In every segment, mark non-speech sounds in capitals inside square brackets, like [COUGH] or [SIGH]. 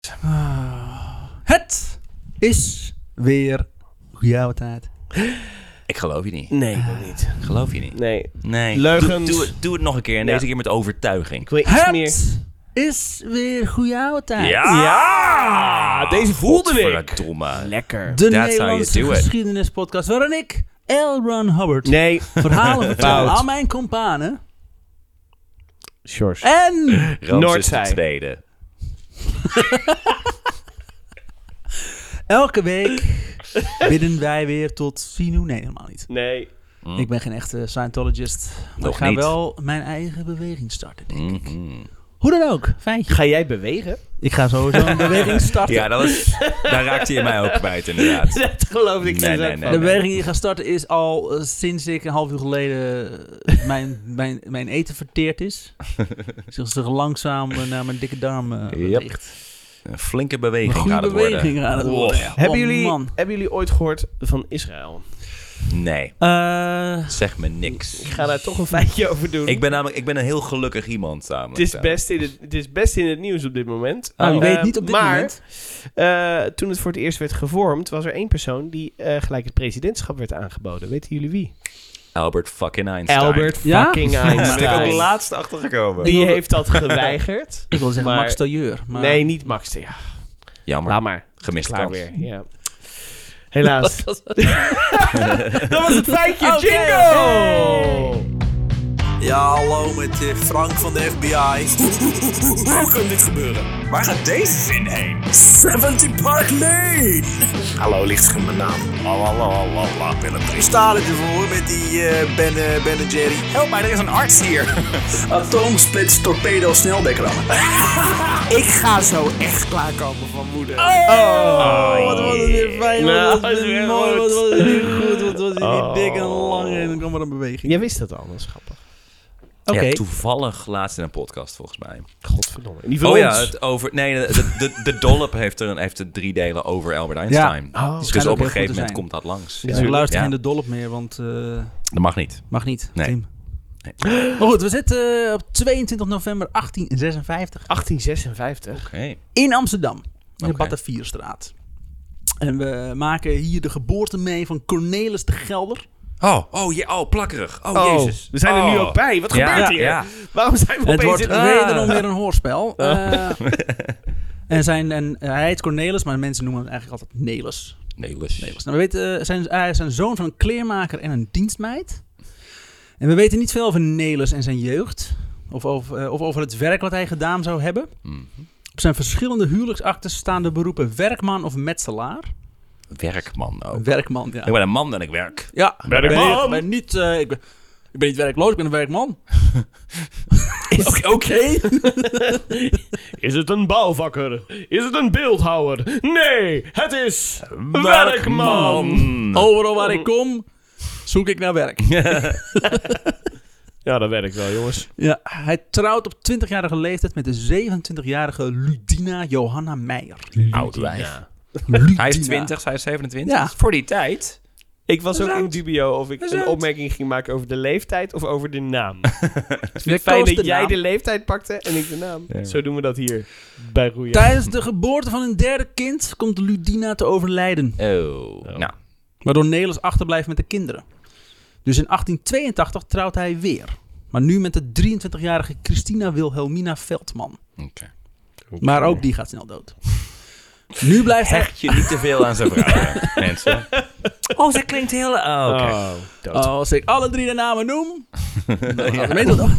Yes. Het is weer jouw tijd. Ik geloof je niet. Ah. Nee, ik ook niet. Ik geloof je niet. Mm. Nee. Nee. Leugens. Doe, doe, het- doe het nog een keer. En Ja. deze keer met overtuiging. Ik wil iets Het meer... is weer goede tijd. Ja! Ja, deze voelde ik. Godverdomme. Lekker. De That's how you Nederlandse do it. geschiedenispodcast waarin ik, L. Ron Hubbard, [LAUGHS] Nee. verhalen [LAUGHS] vertel Fout. aan mijn companen. George. En Ramses Noordzij. de tweede. elke week [LAUGHS] bidden wij weer tot Sinu. Nee, helemaal niet. Nee. Ik ben geen echte Scientologist. Maar Mm. Nog ik ga niet. wel mijn eigen beweging starten. denk ik. Mhm. Hoe dan ook, feitje. Ga jij bewegen? Ik ga sowieso [LAUGHS] een beweging starten. Ja, dat was, daar raakte je mij ook kwijt inderdaad. Dat geloof ik Nee, geen nee, zak nee. De Oh, van. beweging die ik ga starten is al eh, sinds ik een half uur geleden eh, [LAUGHS] mijn, mijn, mijn eten verteerd [LAUGHS] is. Zich zich langzaam eh, naar mijn dikke darm eh, Yep. beweegt. Een flinke Een beweging goede gaat het beweging worden. aan het Wow. worden. Hebben, Oh, jullie, man. hebben jullie ooit gehoord van Israël? Nee, Ah, Eh, zeg me niks. Ik ga daar toch een feitje over doen. Ik ben namelijk ik ben een heel gelukkig iemand eh, samen. het, is best in het, het is best in het nieuws op dit moment. nou, je Eh, weet niet op dit maar, moment. eh, toen het voor het eerst werd gevormd, was er één persoon die eh, gelijk het presidentschap werd aangeboden. Weten jullie wie? Albert fucking Einstein. Albert Ja? fucking Daar ben ik ook Einstein. laatst achtergekomen. Die heeft dat geweigerd. Ik wil eh, zeggen maar- Max Tailleur. Maar Nee, niet Max. Ja, Jammer, laat maar. gemist Nou, Klaar kans. weer. Ja. [LAUGHS] Helaas. [LAUGHS] dat was het feitje. Ja, hallo met eh, Frank van de FBI. Hoe, hoe, hoe, hoe, hoe kan dit gebeuren? Waar gaat deze zin heen? 70 Park Lane! Hallo, licht in mijn naam. Lalalala, Willem. We staan ervoor met die eh ben, eh, ben en Jerry. Help mij, er is een arts hier. Atoomsplits, torpedo, sneldekker. Ik ga zo echt klaarkomen van moeder. Oh, Wat was het weer fijn. Nou, Wat was het is weer het mooi. Wat goed. was het weer goed. Wat was het Oh. weer dik en lang. En dan kwam er een beweging. Jij wist dat al, dat is grappig. Oké. Ja, toevallig laatst in een podcast volgens mij. Godverdomme. Die van oh ja, ons. het over. Nee, de, de, de, de Dollop heeft er, een, heeft er drie delen over Albert Einstein. Oh, die dus ook heel goed op een te gegeven moment zijn. komt dat langs. Dus ik luister Ja. geen de dolp meer, want... eh, Dat mag niet. Mag niet, Nee. Tim. Nee. Maar goed, we zitten eh, op 22 november 1856 1856. Oké. in Amsterdam. In de Oké. Batavierstraat. En we maken hier de geboorte mee van Cornelis de Gelder. Oh, oh, je, oh, plakkerig. Oh, jezus. We zijn er Oh. nu ook bij. Wat Ja, gebeurt hier? ja. Waarom zijn het we opeens wordt in... Ah. wederom weer een hoorspel. Eh, en zijn, en hij heet Cornelis, maar de mensen noemen hem eigenlijk altijd Nelis. Nee, lus. Nelis. Nou, we weten, eh, zijn, hij is een zoon van een kleermaker en een dienstmeid. En we weten niet veel over Nelis en zijn jeugd. Of over, eh, of over het werk wat hij gedaan zou hebben. Mhm. Op zijn verschillende huwelijksakten staan de beroepen werkman of metselaar. Werkman ook. Werkman, ja. Ik ben een man en ik werk. Ja, Werkman! ik ben- Ik ben niet, eh, ik, ben, ik ben niet werkloos, ik ben een werkman. Oké. Is het een bouwvakker? Is het een beeldhouwer? Nee, het is... Oh, Overal waar ik kom, zoek ik naar werk. Ja, dat werkt wel, jongens. Ja, hij trouwt op 20-jarige leeftijd met de 27-jarige Ludina Johanna Meijer. Oud wijf. Ludina. Hij is 20, zij is 27. Ja. Voor die tijd. Ik was Dat ook is in oud. dubio of ik Dat is een oud. opmerking ging maken over de leeftijd of over de naam. Ik Fijn koos dat de jij naam. de leeftijd pakte en ik de naam. Ja. Zo doen we dat hier bij Roeien. Tijdens de geboorte van een derde kind komt Ludina te overlijden. Oh. Nou, Waardoor Nelis achterblijft met de kinderen. Dus in 1882 trouwt hij weer. Maar nu met de 23-jarige Christina Wilhelmina Veldman. oké. Maar ook die gaat snel dood. Nu blijft hij... Hecht je niet te veel aan zijn vrouwen, mensen. Oh, dat klinkt heel... Oh, oké. Oh, dood. Als ik alle drie de namen [LAUGHS] noem... Nou, dan gaat de meestal dood.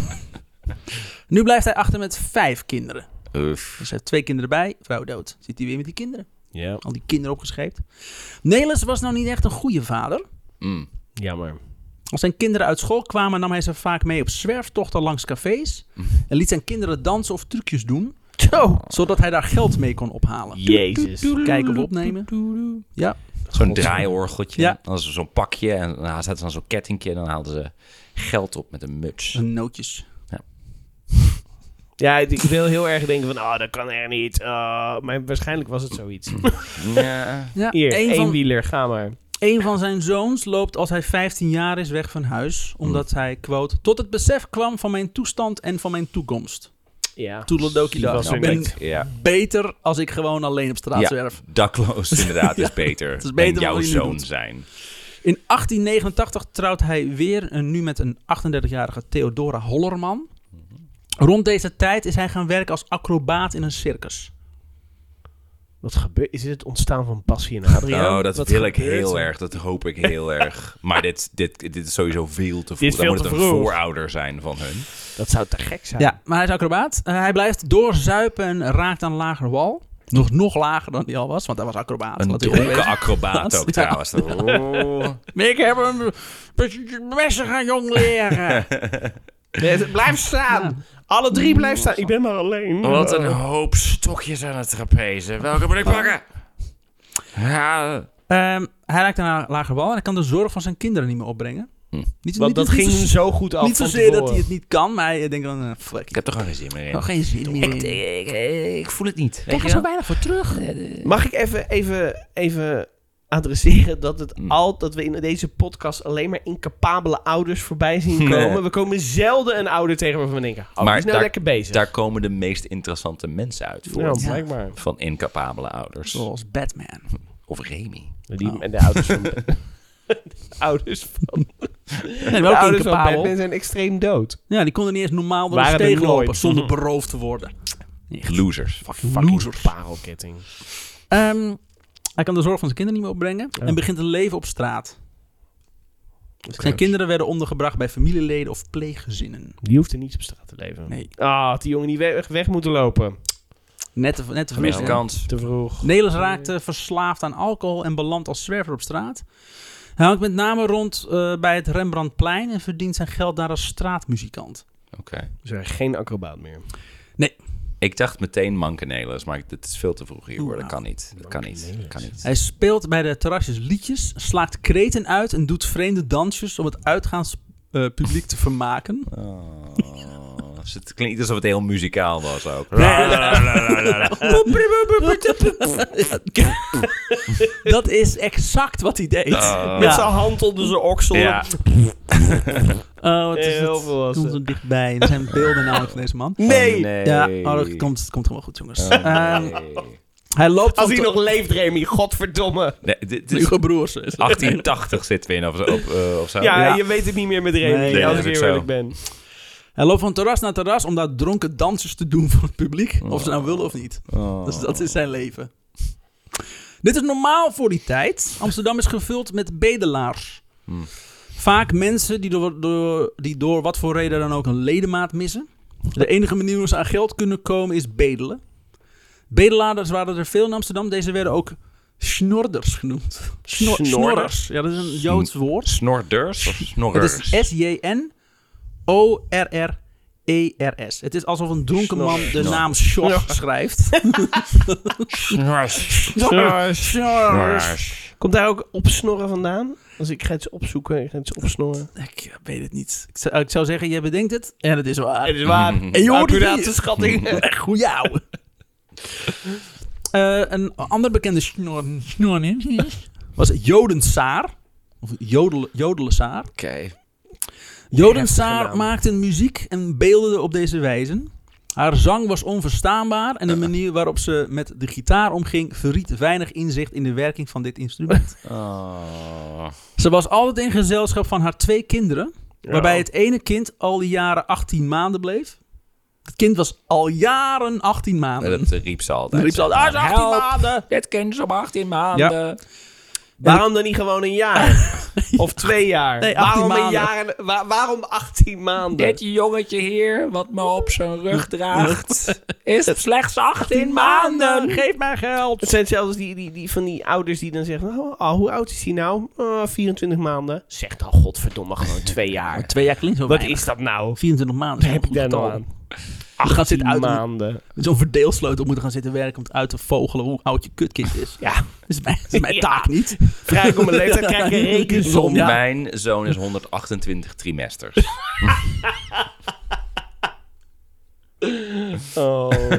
Nu blijft hij achter met vijf kinderen. Oef. Dus hij heeft twee kinderen erbij, vrouw dood. Zit hij weer met die kinderen. Ja, Al die kinderen opgescheept. Nelis was nou niet echt een goede vader. Mm. jammer. Als zijn kinderen uit school kwamen, nam hij ze vaak mee op zwerftochten langs cafés. En liet zijn kinderen dansen of trucjes doen. Zodat hij daar geld mee kon ophalen. Jezus. Kijken of opnemen. Ja. Zo'n draaiorgeltje. Ja. Dan ze zo'n pakje en dan zetten ze dan zo'n kettingje en dan haalden ze geld op met een muts. Zijn nootjes. Ja, ik wil heel erg denken van, oh, dat kan er niet. ah, maar waarschijnlijk was het zoiets. Ja. Ja, [LAUGHS] Hier, een, van, eenwieler, ga maar. een van zijn zoons loopt als hij 15 jaar is weg van huis. Omdat hij, quote, tot het besef kwam van mijn toestand en van mijn toekomst. Ja. Toedeledokie Die was dag. weer Nou, Ik ben met- Ja. beter als ik gewoon alleen op straat Ja. zwerf. Dakloos [LAUGHS] inderdaad is beter. Het is beter en dan jouw wat je nu zoon doet. zijn. In 1889 trouwt hij weer, en nu met een 38-jarige Theodora Hollerman. Rond deze tijd is hij gaan werken als acrobaat in een circus. Wat gebeurt? Is dit het ontstaan van Bassie en Adriaan? oh, dat Wat wil ik gebeurt heel er? erg. Dat hoop ik heel erg. Maar dit, dit, dit is sowieso veel te vroeg. is veel Dan moet te het een vroeg. voorouder zijn van hun. Dat zou te gek zijn. Ja, maar hij is acrobaat. Eh, hij blijft doorzuipen en raakt aan een lager wal. Nog, nog lager dan die al was, want hij was acrobaat. Een Wat hij ook dronken weet. acrobaat ook Ja. trouwens. Oh. Ik heb hem messen gaan jong leren. Nee, blijf staan! Alle drie blijf staan. Ik ben maar alleen. Eh, Wat een hoop stokjes aan het trapeze. Eh, Welke moet ik pakken? Ja. Ehm, hij raakt aan een lager wal en hij kan de zorg van zijn kinderen niet meer opbrengen. Hm. Niet, Want niet- dat niet ging zo- zo goed af Niet van zozeer dat tevoren. hij het niet kan, maar hij denkt dan, eh, fuck, Ik ik heb er gewoon geen zin meer in. heb geen zin meer Ik, in. Oh, ik, ik voel het niet. Ik weet ga je zo wel. weinig voor terug. Mag ik even, even, even adresseren dat, het Hmm. al, dat we in deze podcast alleen maar incapabele ouders voorbij zien Nee. komen? We komen zelden een ouder tegen waarvan we denken, oh, Maar die is nou daar- lekker bezig. Daar komen de meest interessante mensen uit ja, voort. Ja. blijkbaar. Van incapabele ouders. Zoals Batman. Of Remy. Die, Oh. En de ouders van... [LAUGHS] de ouders van, En de wel ouders van Batman incapabel. zijn extreem dood. Ja, die konden niet eens normaal door de Waren er steeg nooit. lopen zonder beroofd te worden. Losers. Fucking Losers. parelketting. Ehm, hij kan de zorg van zijn kinderen niet meer opbrengen en begint een leven op straat. Zijn kinderen werden ondergebracht bij familieleden of pleeggezinnen. Die hoeft er niet op straat te leven. Nee, Ah, had die jongen niet weg, weg moeten lopen. net te, net te Gemiste vermisten. kans. Te vroeg. Nelis raakte verslaafd aan alcohol en belandt als zwerver op straat. Hij hangt met name rond eh, bij het Rembrandtplein en verdient zijn geld daar als straatmuzikant. Oké. Dus er geen acrobaat meer. Ik dacht meteen Mankenelis, maar dit is veel te vroeg hier hoor. Dat kan niet. Dat kan niet. Dat kan niet. Hij speelt bij de terrasjes liedjes, slaakt kreten uit en doet vreemde dansjes om het uitgaanspubliek publiek te vermaken. Oh, [LAUGHS] het klinkt alsof het heel muzikaal was ook. Dat is exact wat hij deed. Oh. Met zijn hand onder zijn oksel. Ja. Oh, het is Heel het. volwassen. Komt er dichtbij. Er zijn beelden namelijk van deze man. Nee! Oh, nee. Ja, oh, dat komt, het komt helemaal goed, jongens. Oh, Ehm, nee. hij loopt Als van hij te- nog leeft, Remy, godverdomme. Nee, dit is Hugo Broers. is het. 1880 zitten we in of zo. Op, eh, of zo. Ja, Ja. je weet het niet meer met Remy, Nee, nee, als dat ik is ook eerlijk zo. ben. Hij loopt van terras naar terras om daar dronken dansjes te doen voor het publiek. Of ze nou willen of niet. Oh. Dus dat is zijn leven. Dit is normaal voor die tijd. Amsterdam is gevuld met bedelaars. Hmm. Vaak mensen die door, door, die door wat voor reden dan ook een ledemaat missen. De enige manier hoe ze aan geld kunnen komen is bedelen. Bedelaars waren er veel in Amsterdam. Deze werden ook snorders genoemd. Snor- Snorder? snorrers. Ja, dat is een Joods woord. Snorders of snorrers? Het is S-J-N-O-R-R-E-R-S. E Het is alsof een dronken man de naam Sjors schrijft. Snors. Snors. Komt daar ook opsnorren vandaan? Als ik ga iets opzoeken, ik ga iets opsnorren. Ik eh, weet het niet. Ik zou, ik zou zeggen, jij bedenkt het en het is waar. is [LAUGHS] waar. En je hoort het Accurate hier. schatting. [LAUGHS] Echt goeie ouwe. Eh, een ander bekende snor, snor was Jodensaar. Of Jodel, Jodelesaar. Oké. Jodensaar Heftige naam. maakte muziek en beeldende op deze wijze. Haar zang was onverstaanbaar en de manier waarop ze met de gitaar omging verriet weinig inzicht in de werking van dit [LAUGHS] instrument. Oh. ze was altijd in gezelschap van haar twee kinderen, waarbij het ene kind al die jaren 18 maanden bleef. Het kind was al jaren 18 maanden. Dat eh, riep ze altijd. Dan riep ze altijd, ah, ze is 18 Help. maanden! Dit kind is om 18 maanden. Waarom dan niet gewoon een [LAUGHS] jaar? Of twee jaar? Nee, 18 waarom, een maanden. jaar en- wa- waarom 18 maanden? Dit jongetje hier, wat me op zijn rug draagt, is slechts 18 maanden. geef mij geld! Het zijn zelfs die, die, die van die ouders die dan zeggen: oh, ah, hoe oud is hij nou? Ah, 24 maanden. Zeg dan, godverdomme, gewoon twee jaar. Twee jaar klinkt zo Wat weinig. is dat nou? 24 maanden. Wat is heb ik wel daar een goed nou getal. aan? Dan gaat ze het 18 uit- maanden. Met zo'n verdeelsleutel moeten gaan zitten werken om het uit te vogelen hoe oud je kutkind [LAUGHS] is. Ja, Dat is mijn, dat is mijn Ja. taak niet. vrij ik om mijn leeftijd krijg [LAUGHS] ik een "Ah, rekensom. Ja. Mijn [LAUGHS] zoon is 128 trimesters. Oh. [LAUGHS]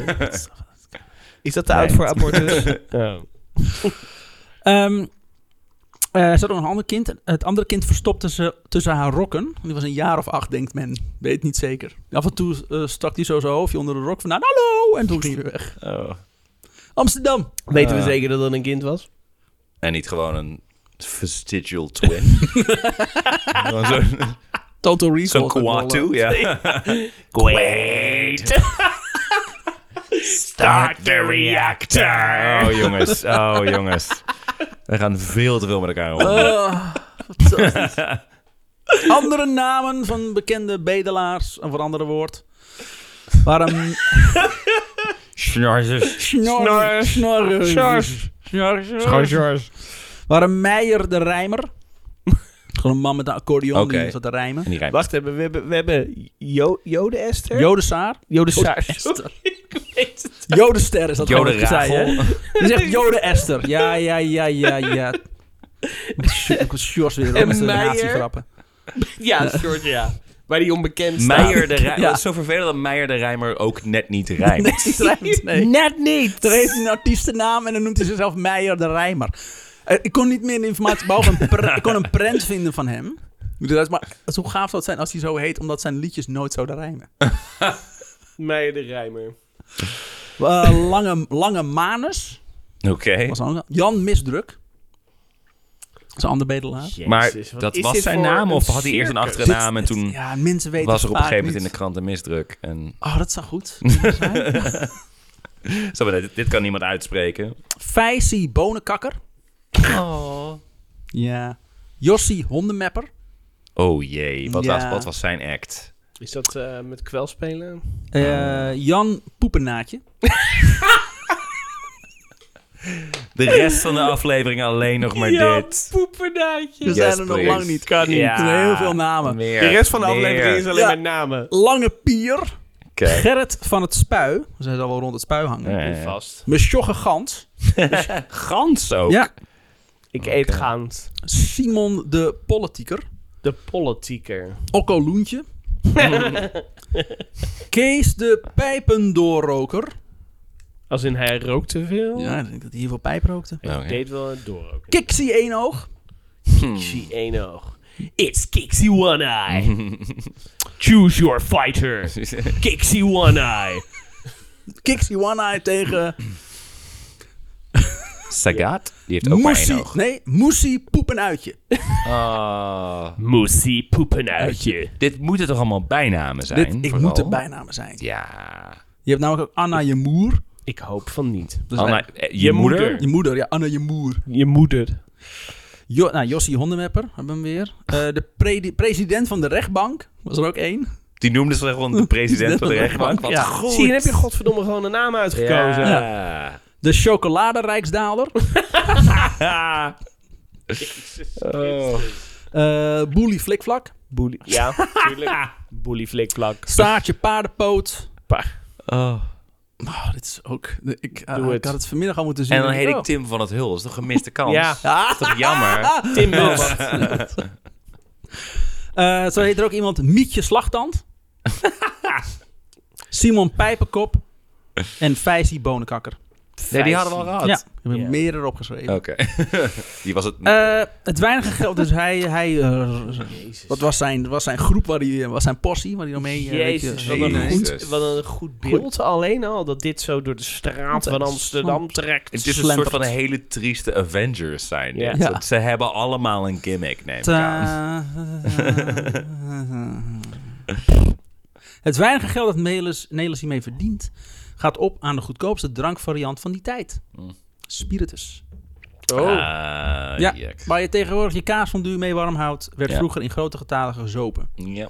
Is dat te oud voor abortus? Ehm, Eh, er zat ook nog een ander kind. Het andere kind verstopte ze tussen haar rokken. Die was een jaar of acht, denkt men. Weet niet zeker. Af en toe eh, stak hij zo zijn hoofdje onder de rok vandaan. Hallo! En toen ging hij weer weg. Oh. Amsterdam. Weten we Eh. zeker dat dat een kind was? En niet gewoon een vestigial [LAUGHS] twin. Gewoon Zo'n Total Recall. zo'n gaat wel, eh, Kwaatu, [LAUGHS] ja. Wait. Start the reactor. Oh jongens, oh jongens. We gaan veel te veel met elkaar om. Oh, fantastisch. andere namen van bekende bedelaars, of een ander woord, waren Snarzes. Snor, Snor, waren Meijer de Rijmer. Gewoon een man met een accordeon Oké. die zat te rijmen. En die rijmt. Wacht even, we hebben, we hebben jo Jode Esther? Jodesaar. Jode Saar. Jodester is dat Jode gewoon wat je zei, Rachel. hè? Je zegt Jode Esther. Ja, ja, ja, ja, [LAUGHS] ja. Ik was Sjors weer En met zijn Meijer? natiegrappen. [LAUGHS] Ja, George, ja. Maar die onbekend staat. Meijer de Rijmer. Ja. Het is zo vervelend dat Meijer de Rijmer ook net niet [LAUGHS] rijmt. Nee. Net niet. Er heeft een artiestennaam en dan noemt hij zichzelf Meijer de Rijmer. Eh, ik kon niet meer informatie, behalve een pre- ik kon een prent vinden van hem. Dus, maar hoe gaaf zou het zijn als hij zo heet, omdat zijn liedjes nooit zouden rijmen. Meijer de Rijmer. Eh, lange, lange Manus, Oké. was een andere. Jan Misdruk, dat is een ander bedelaar. Maar Jezus, wat dat is was dit zijn voor naam een of had hij eerst een circus? achternaam en toen Ja, mensen weten was er het op een vaak gegeven moment in de niet. krant een misdruk. En Oh, dat zou goed kunnen [LAUGHS] zijn. zo, maar dit, dit kan niemand uitspreken. Fijsie Bonenkakker. Ja. Jossie Hondenmapper. Oh jee, wat, Ja. was, wat was zijn act? Is dat eh, met kwelspelen? Eh, Jan Poepenaatje. De rest [LAUGHS] van de aflevering alleen nog maar dit. poeperdaadje. We Yes, zijn er nog please. lang niet. Kan niet. Er zijn heel veel namen. Meer, De rest van de meer. aflevering is alleen Ja. maar namen. Lange Pier. [LAUGHS] Kijk. Gerrit van het Spui. Zij zal wel rond het spui hangen. Ja, ja, ja. Vast. Mesjogge Gans. Gans ook. Ja. Ik eet gaans. Simon de Politieker. De politieker. Okko [LAUGHS] Loentje. Kees de Pijpendoorroker. Als in hij rookt te veel. Ja, ik denk dat hij heel veel pijp rookte. Hij Oké. deed wel het doorroken. Kixie Eenoog. Kixie één oog. It's Kixie One [LAUGHS] Eye. Choose your fighter. Kixie One Eye. Kixie One Eye tegen [LAUGHS] Sagat, die heeft ook maar Moesie. één oog. Nee, Moesie Poepenuitje. Ah. Moesie poepenuitje. dit moeten toch allemaal bijnamen zijn? [LAUGHS] Dit, ik vooral? moet de bijnamen zijn. Ja. Je hebt namelijk ook Anna je moer. [LAUGHS] Ik hoop van niet. Dus Anna, eigenlijk- eh, je, Je moeder? moeder. Je moeder, ja, Anna je moer. Je moeder. Jo nou, Jossie Hondenwepper, hebben we hem weer. Eh, de pre- president van de rechtbank, was er ook één. Die noemde ze gewoon de [LAUGHS] president van de rechtbank. Wat Ja. goed. Zie je, dan heb je godverdomme gewoon een naam uitgekozen. Ja. De [LAUGHS] chocoladerijksdaler. eh Boelie Flikvlak. Boelie. [LAUGHS] Ja, tuurlijk. Boelie flikvlak. Staartje Paardenpoot. Pa. Oh. Oh, dit is ook... Ik, eh, Doe ik het. had het vanmiddag al moeten zien. En dan heet oh. Ah. ik Tim van het Hul. Dat is toch een gemiste kans? Ja. Dat is toch jammer? Tim Wilbert. Eh, zo heet er ook iemand Mietje [LAUGHS] Slagtand. Simon Pijpenkop. En Vijsie Bonenkakker. Nee, die hadden we al gehad. Ja, ik heb er Ja. meer erop geschreven. Oké. [LAUGHS] die was het... Eh, het weinige geld, dus hij... hij eh, Jezus. wat was zijn, was zijn groep, waar hij, eh, was zijn portie, waar hij dan mee... eh, weet je, Jezus, zo- wat een, Jezus. goed, wat een goed beeld alleen al. Dat dit zo door de straat van Amsterdam trekt. het is een slentert. soort van een hele trieste Avengers zijn. dit. Ja. Dat Ze hebben allemaal een gimmick, neem ik eh, aan. Ta- Het weinige geld dat Nelis, Nelis hiermee verdient, gaat op aan de goedkoopste drankvariant van die tijd. Hmm. Spiritus. Oh. Ah, Ja, jek. waar je tegenwoordig je kaasfondue mee warm houdt, werd Ja. vroeger in grote getalen gezopen. Ja.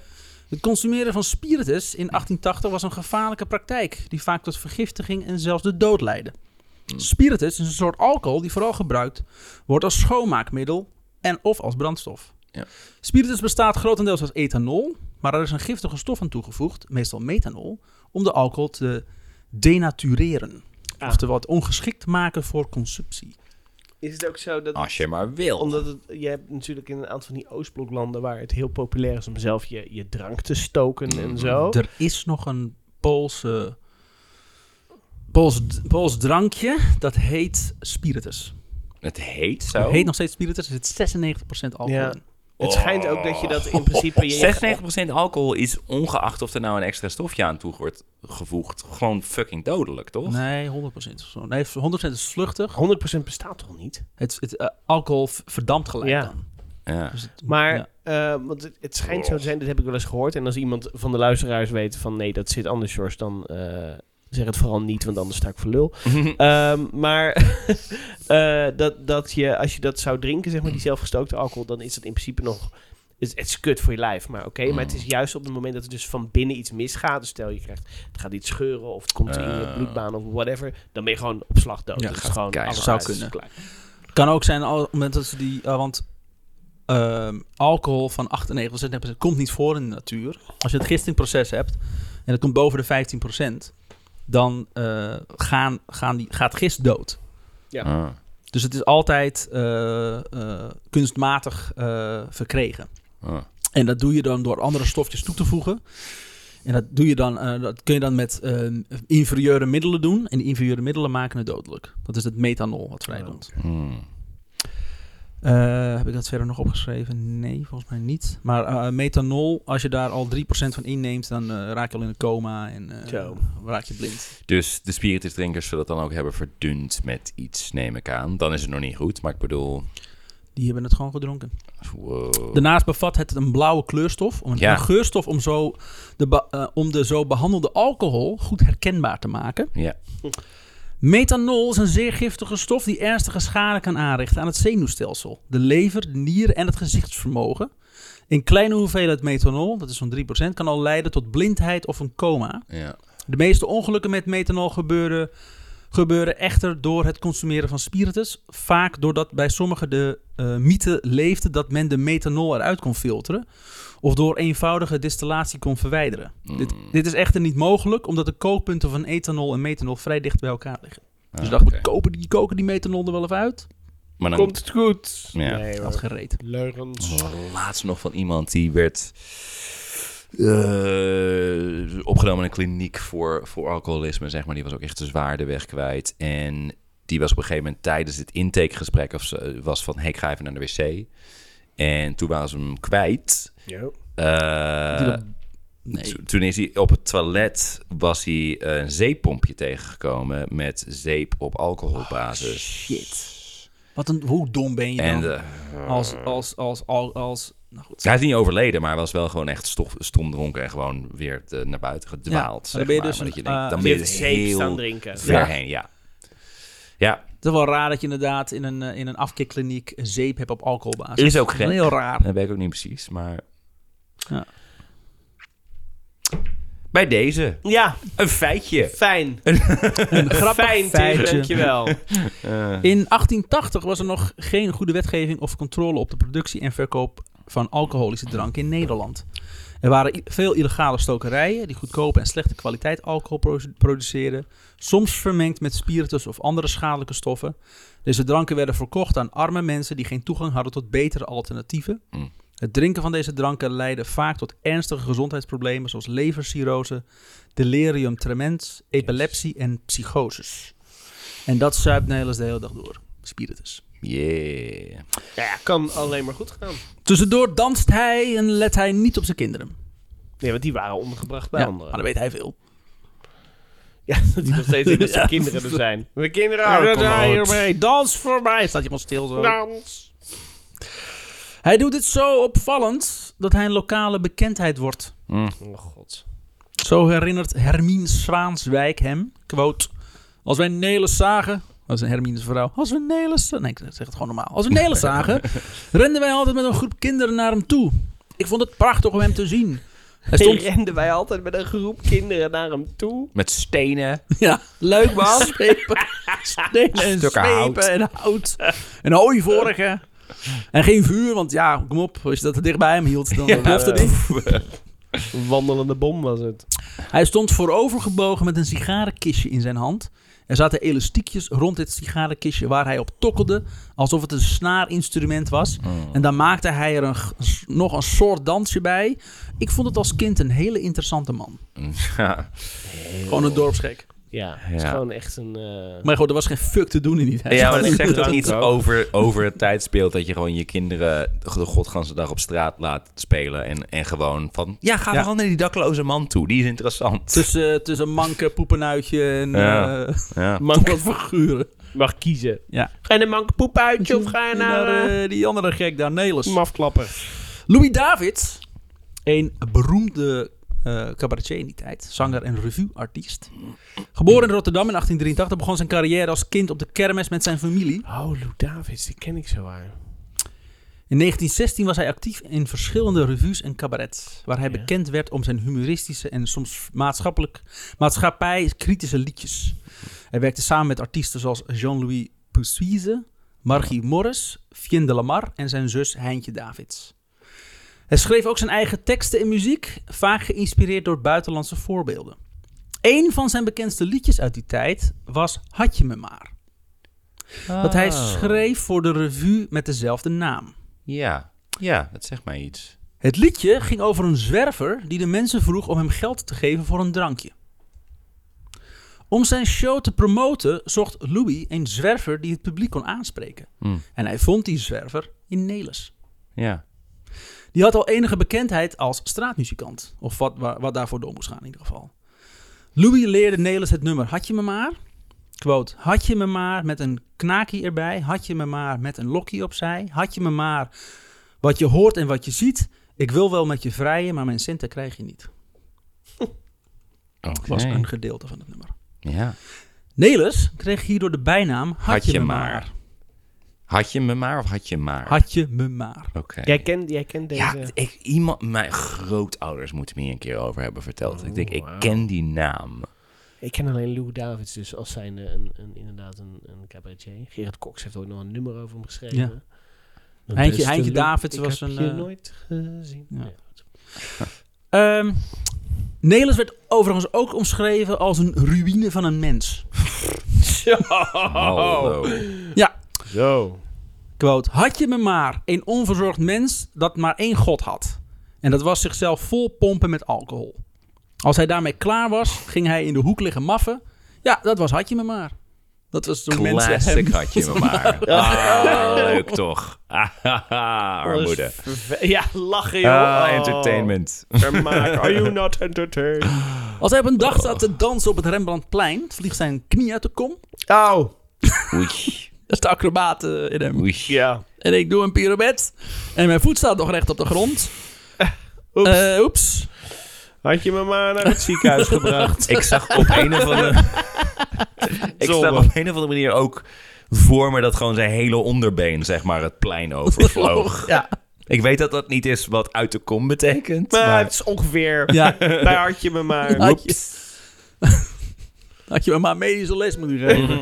Het consumeren van spiritus in 1880 was een gevaarlijke praktijk, die vaak tot vergiftiging en zelfs de dood leidde. Spiritus is een soort alcohol die vooral gebruikt wordt als schoonmaakmiddel en of als brandstof. Ja. Spiritus bestaat grotendeels uit ethanol, maar er is een giftige stof aan toegevoegd, meestal methanol, om de alcohol te denatureren. Ah. Oftewel het ongeschikt te maken voor consumptie. Is het ook zo dat... Als je maar wil. Omdat het, je hebt natuurlijk in een aantal van die Oostbloklanden... waar het heel populair is om zelf je, je drank te stoken en zo. Er is nog een Poolse, Pools, Pools drankje, dat heet spiritus. Het heet zo. Heet nog steeds Spiritus. Er zit 96% alcohol Oh. Ja. in. Het schijnt ook dat je dat Oh. in principe... Je, 96% alcohol is ongeacht of er nou een extra stofje aan toe wordt gevoegd, gewoon fucking dodelijk, toch? Nee, 100% of zo. Nee, 100% is vluchtig. 100% bestaat toch niet? Het, het eh, alcohol v- verdampt gelijk Ja. dan. [LAUGHS] Ja. Dus het- Maar, ja. eh, want het, het schijnt zo te zijn, dat heb ik wel eens gehoord. En als iemand van de luisteraars weet van nee, dat zit anders, George, dan eh, zeg het vooral niet, want anders sta ik voor lul. Ehm, maar [LAUGHS] eh, dat, dat je, als je dat zou drinken, zeg maar, Mm. die zelfgestookte alcohol, dan is dat in principe nog. Het het is kut voor je lijf, maar oké. Maar Mm. het is juist op het moment dat er dus van binnen iets misgaat. Dus stel je krijgt, het gaat iets scheuren of het komt in je Eh. bloedbaan of whatever. Dan ben je gewoon op slag dood. Ja, dat is gaat gewoon keihard. alles Zou uit, kunnen. is klaar. Kan ook zijn al, op het moment dat ze die... eh, want ehm, alcohol van 98% komt niet voor in de natuur. Als je het gistingproces hebt en dat komt boven de 15%, dan eh, gaan, gaan die, gaat gist dood. Ah. Dus het is altijd eh, eh, kunstmatig eh, verkregen. Ah. En dat doe je dan door andere stofjes toe te voegen. En dat, doe je dan, eh, dat kun je dan met eh, inferieure middelen doen. En die inferieure middelen maken het dodelijk. Dat is het methanol wat vrijkomt. Hmm. Eh, heb ik dat verder nog opgeschreven? Nee, volgens mij niet. Maar eh, methanol, als je daar al 3% van inneemt, dan eh, raak je al in een coma en eh, Zo. raak je blind. Dus de spiritusdrinkers zullen dat dan ook hebben verdund met iets, neem ik aan. Dan is het nog niet goed, maar ik bedoel... Die hebben het gewoon gedronken. Wow. Daarnaast bevat het een blauwe kleurstof, om een, Ja. een geurstof om, zo de ba- eh, om de zo behandelde alcohol goed herkenbaar te maken. Ja. Methanol is een zeer giftige stof die ernstige schade kan aanrichten aan het zenuwstelsel, de lever, de nieren en het gezichtsvermogen. Een kleine hoeveelheid methanol, dat is zo'n 3%, kan al leiden tot blindheid of een coma. ja. De meeste ongelukken met methanol gebeuren, gebeuren echter door het consumeren van spiritus. Vaak doordat bij sommigen de eh, mythe leefde dat men de methanol eruit kon filteren. Of door eenvoudige distillatie kon verwijderen. Mm. Hmm. Ah, Dit, dit is echter niet mogelijk, omdat de kookpunten van ethanol en methanol vrij dicht bij elkaar liggen. Dus Ah, dacht oké. we kopen die, koken die methanol er wel even uit. Maar dan Komt het goed? Ja. Nee, Dat Oh. hoor. gereed. leugens. laatst nog van iemand die werd eh, opgenomen in een kliniek voor, voor alcoholisme, zeg maar. Die was ook echt de zwaarde weg kwijt. En die was op een gegeven moment tijdens het intakegesprek of ze, was van, hey, ik ga even naar de wc. En toen waren ze hem kwijt. Eh, Die dan- nee. to- Toen is hij op het toilet, was hij een zeeppompje tegengekomen met zeep op alcoholbasis. Shit. Wat een, hoe dom ben je Oh, dan? en eh, als, als, als, als, als, nou goed. Hij is niet overleden, maar hij was wel gewoon echt stof, stom dronken en gewoon weer eh, naar buiten gedwaald. Ja, maar dan zeg ben je maar. dus Maar een, dat je denkt, eh, dan Die ben je heeft dus zeep staan heel drinken. ver Ja. heen. Ja. ja, Het is wel raar dat je inderdaad in een, eh, in een afkikkliniek zeep hebt op alcoholbasis. Is ook gek. Heel raar. dat weet ik ook niet precies, maar... Ja. Bij deze, Ja, een feitje. fijn. [LAUGHS] Een grappig Fijn, Tim, feitje. [LAUGHS] dankjewel. In 1880 was er nog geen goede wetgeving of controle op de productie en verkoop van alcoholische dranken in Nederland. Er waren i- veel illegale stokerijen die goedkope en slechte kwaliteit alcohol produ- produceerden, soms vermengd met spiritus of andere schadelijke stoffen. Deze dranken werden verkocht aan arme mensen die geen toegang hadden tot betere alternatieven. Mm. Het drinken van deze dranken leidde vaak tot ernstige gezondheidsproblemen zoals levercirrose, delirium tremens, epilepsie en psychoses. En dat zuipt Nederlands de hele dag door. Spiritus. Yeah. Ja, kan alleen maar goed gaan. Tussendoor danst hij en let hij niet op zijn kinderen. Nee, want die waren ondergebracht bij Ja, maar anderen. dan weet hij veel. Ja, [LAUGHS] dat die nog steeds in dat zijn Ja. kinderen er zijn. Mijn kinderen Ja, Nou. dat houden hij hiermee. hiermee. Dans voor mij. Staat je gewoon stil zo. Dans. Hij doet dit zo opvallend dat hij een lokale bekendheid wordt. Mm, Oh god. Zo herinnert Hermine Zwaanswijk hem. Quote. Als wij Nelis zagen... Dat is een Hermine's vrouw. Als we Nelis... Nee, ik zeg het gewoon normaal. Als we [LAUGHS] Nelis zagen, renden wij altijd met een groep kinderen naar hem toe. Ik vond het prachtig om hem te zien. Hij Toen stond... renden wij altijd met een groep kinderen naar hem toe. Met stenen. Ja, leuk man. [LAUGHS] Zwepen. Stenen en Stukken zwepen hout. en hout. En hooivorken. En geen vuur, want ja, kom op. Als je dat er dicht bij hem hield, [LAUGHS] dan plofte eh. het. Een [LAUGHS] wandelende bom was het. Hij stond voorovergebogen met een sigarenkistje in zijn hand. Er zaten elastiekjes rond dit sigarenkistje waar hij op tokkelde, alsof het een snaarinstrument was. En dan maakte hij er een, g- s- nog een soort dansje bij. Ik vond het als kind een hele interessante man. Ja. Gewoon een dorpsgek. Ja, het is Ja. gewoon echt een... eh, Maar goed, er was geen fuck te doen in die tijd. Ja, maar dat dat zegt doet ook het iets ook. over, over het tijdsbeeld dat je gewoon je kinderen de godganse dag op straat laat spelen. En, en gewoon van, ja, ga Ja. vooral naar die dakloze man toe, die is interessant. Tussen, tussen manken, poepenuitje en Ja. eh [LAUGHS] Ja. mank wat figuren. mag kiezen. Ja. Ga je naar mank uitje of ga je En naar... daar, eh, eh, die andere gek daar, Nelis. hem afklappen. Louis David, een beroemde eh cabaretier in die tijd, zanger en revueartiest. Geboren in Rotterdam in 1883, begon zijn carrière als kind op de kermis met zijn familie. Oh, Lou Davids, die ken ik zo waar. In 1916 was hij actief in verschillende revues en cabarets, waar hij Ja. bekend werd om zijn humoristische en soms maatschappelijk, maatschappij-kritische liedjes. Hij werkte samen met artiesten zoals Jean-Louis Puissuise, Margie Morris, Fien de Lamar en zijn zus Heintje Davids. Hij schreef ook zijn eigen teksten en muziek, vaak geïnspireerd door buitenlandse voorbeelden. Een van zijn bekendste liedjes uit die tijd was Had je me maar, dat hij Oh. schreef voor de revue met dezelfde naam. Ja, ja, dat zegt mij iets. Het liedje ging over een zwerver die de mensen vroeg om hem geld te geven voor een drankje. Om zijn show te promoten zocht Louis een zwerver die het publiek kon aanspreken. Hm, En hij vond die zwerver in Nelis. Ja, Die had al enige bekendheid als straatmuzikant. Of wat, wa- wat daarvoor door moest gaan in ieder geval. Louis leerde Nelis het nummer Had je me maar? Quote, had je me maar met een knakie erbij. Had je me maar met een lokkie opzij. Had je me maar wat je hoort en wat je ziet. Ik wil wel met je vrijen, maar mijn centen krijg je niet. Oké. Was een gedeelte van het nummer. ja. Nelis kreeg hierdoor de bijnaam Had, je, me maar. Had je me maar of had je maar? Had je me maar. Oké. Jij kent jij kent deze... Ja, ik, iemand, mijn grootouders moeten me hier een keer over hebben verteld. ik denk, ik wauw. ken die naam. Ik ken alleen Lou Davids dus als zijn een, een, inderdaad een, een cabaretier. Gerard Cox heeft ook nog een nummer over hem geschreven. dus Ja. De Heintje- beste Heintje Lou, Davids ik was heb een, je eh, nooit gezien. ja. Nee, goed. Ehm Nelis werd overigens ook omschreven als een ruïne van een mens. Oh! Oh. Hallo. Ja, Zo. Quote, had je me maar een onverzorgd mens dat maar één god had. En dat was zichzelf vol pompen met alcohol. Als hij daarmee klaar was, ging hij in de hoek liggen maffen. Ja, dat was had je me maar. Dat was zo'n mens. Classic hem. had je me maar. Ah, leuk toch? Ahaha, Armoede. Ja, lachen joh. Ah, Oh. entertainment. Vermaak. Are you not entertained? Als hij op een dag zat te dansen op het Rembrandtplein, vliegt zijn knie uit de kom. Au. Oei, Dat is de acrobaat eh, in hem. [LAUGHS] oei. Ja. En ik doe een pirouette. En mijn voet staat nog recht op de grond. Oeps. Eh, oeps. Had je me maar naar het ziekenhuis gebracht. Ik zag op een of [LAUGHS] andere... ik Zonde. zag op een of andere manier ook voor me dat gewoon zijn hele onderbeen, zeg maar, het plein [LAUGHS] overvloog. Ja. Ik weet dat dat niet is wat uit de kom betekent, Maar maar... het is ongeveer. ja. Daar had je me maar. Had je, [LAUGHS] had je me maar medische les moeten geven.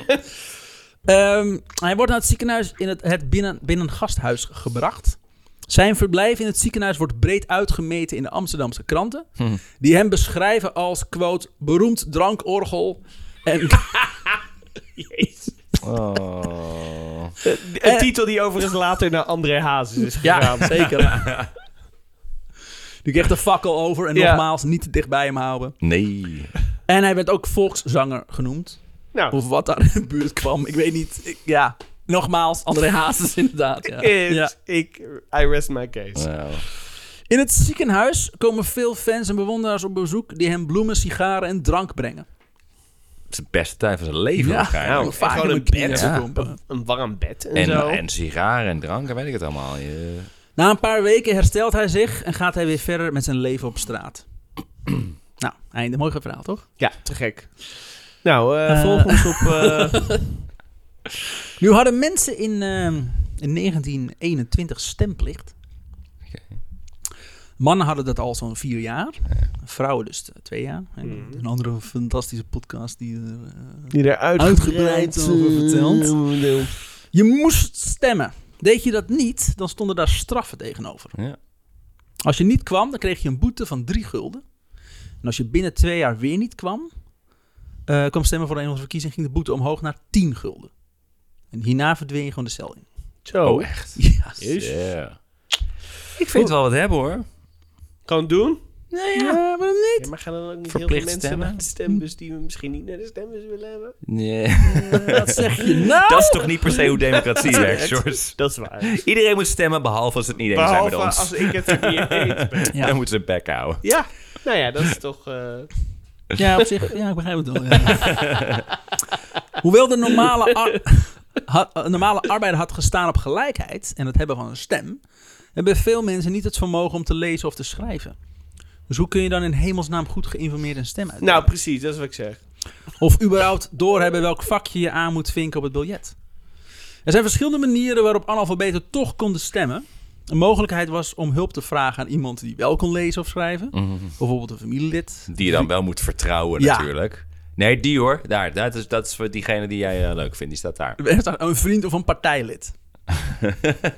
Ehm, hij wordt naar het ziekenhuis in het, het binnen, binnengasthuis gebracht. Zijn verblijf in het ziekenhuis wordt breed uitgemeten in de Amsterdamse kranten. Hm. Die hem beschrijven als, quote, beroemd drankorgel. En, Jezus. Oh. Een titel die overigens later naar André Hazes is gegaan. ja, zeker. Die kreeg de fakkel over en Ja. nogmaals niet te dicht bij hem houden. Nee. En hij werd ook volkszanger genoemd. Nou, Of wat daar in de buurt kwam, ik weet niet. Ik- ja, nogmaals, André Hazes [LAUGHS] inderdaad. Ja. is- Ja. ik, I rest my case. Nou. In het ziekenhuis komen veel fans en bewonderaars op bezoek... die hem bloemen, sigaren en drank brengen. Het is de beste tijd van zijn leven waarschijnlijk. om vaak gewoon in een mijn knieën bed, te ja. pompen. Een warm bed en, zo. En, en sigaren en drank, dan weet ik het allemaal. Je- Na een paar weken herstelt hij zich... en gaat hij weer verder met zijn leven op straat. [CLEARS THROAT] nou, einde. Mooi verhaal, toch? Ja, te gek. Nou, eh, En volg ons op... eh, Nu hadden mensen in, ehm, in 1921 stemplicht. Mannen hadden dat al zo'n vier jaar. Vrouwen dus eh, twee jaar. En Mhm. een andere fantastische podcast die... er, eh, die er Uitgebreid uitgebreid over verteld. eh, Je moest stemmen. Deed je dat niet, dan stonden daar straffen tegenover. Ja. Als je niet kwam, dan kreeg je een boete van drie gulden. En als je binnen twee jaar weer niet kwam, eh, kwam stemmen voor een of andere verkiezing, ging de boete omhoog naar tien gulden. En hierna verdween je gewoon de cel in. Zo. echt? Ja. Jezus. Ja. Ik vind het wel wat hebben hoor. Gewoon doen. Nee, ja. waarom niet? Ja, maar gaan er dan ook niet Verplicht heel veel mensen stemmen. naar de stembus die we misschien niet naar de stembus willen hebben? Nee. Wat zeg je nou? Dat is toch niet per se hoe democratie werkt, George? Dat is waar. Iedereen moet stemmen, behalve als ze het niet eens zijn met ons. als ik het er niet eens ben. Ja. Dan moeten ze bek houden. Ja, nou ja, dat is toch... eh, Ja, op zich. Ja, ik begrijp het wel. ja. [LAUGHS] Hoewel de normale, ar- had- eh, normale arbeider had gestaan op gelijkheid en het hebben van een stem, hebben veel mensen niet het vermogen om te lezen of te schrijven. Dus hoe kun je dan in hemelsnaam goed geïnformeerd een stem uit? Nou, precies, dat is wat ik zeg. Of überhaupt doorhebben welk vakje je aan moet vinken op het biljet. Er zijn verschillende manieren waarop analfabeten toch konden stemmen. Een mogelijkheid was om hulp te vragen aan iemand die wel kon lezen of schrijven. Mhm. Bijvoorbeeld een familielid. Die je dan wel moet vertrouwen, Ja. natuurlijk. Nee, die hoor. Daar, dat is, dat is voor diegene die jij eh, leuk vindt. Die staat daar. Een vriend of een [LAUGHS] partijlid.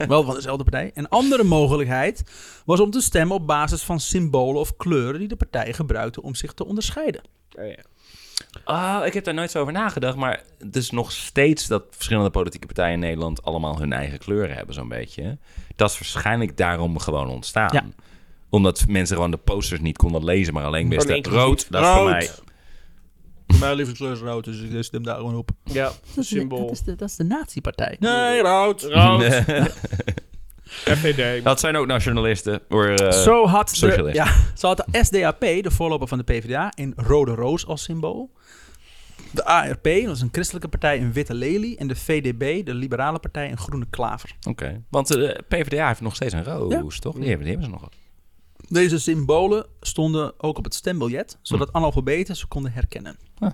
Wel van dezelfde partij. Een andere mogelijkheid was om te stemmen op basis van symbolen of kleuren die de partij gebruikte om zich te onderscheiden. Oh, ja. Oh, ik heb daar nooit zo over nagedacht. Maar het is nog steeds dat verschillende politieke partijen in Nederland allemaal hun eigen kleuren hebben, zo'n beetje. Dat is waarschijnlijk daarom gewoon ontstaan. Ja. Omdat mensen gewoon de posters niet konden lezen, maar alleen wisten Alleen rood, dat is voor mij. Mijn lieve kleur is rood, dus ik stem daar gewoon op. Ja, symbool. Dat is de, dat is de nazi-partij. Nee, rood. Nee. [LAUGHS] FVD. Dat zijn ook nationalisten. Hoor, eh, zo, had de, socialist. ja, zo had de SDAP, de voorloper van de PvdA, een rode roos als symbool. De ARP, dat is een christelijke partij, een witte lelie. En de VDB, de liberale partij, een groene klaver. Oké. Want eh, de PvdA heeft nog steeds een roos, toch? Die hebben, die hebben ze nog. Deze symbolen stonden ook op het stembiljet, zodat analfabeten ze konden herkennen. Ah.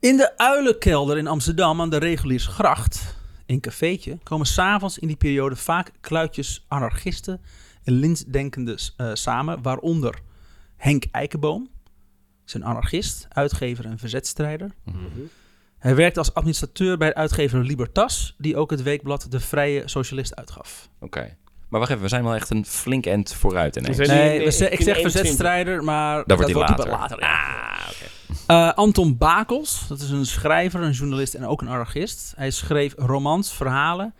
In de Uilenkelder in Amsterdam aan de Reguliersgracht, een cafeetje, komen s'avonds in die periode vaak kluitjes anarchisten en linksdenkenden eh, samen, waaronder Henk Eikenboom, zijn anarchist, uitgever en verzetstrijder. Hij werkte als administrateur bij uitgever Libertas, die ook het weekblad De Vrije Socialist uitgaf. Oké. Maar wacht even, we zijn wel echt een flink end vooruit ineens. We zijn- Nee, Nee, we ze- nee, ik in zeg 21. verzetstrijder, maar dat, wordt hij wel later. ja. Eh, Anton Bakels, dat is een schrijver, een journalist en ook een anarchist. Hij schreef romans, verhalen,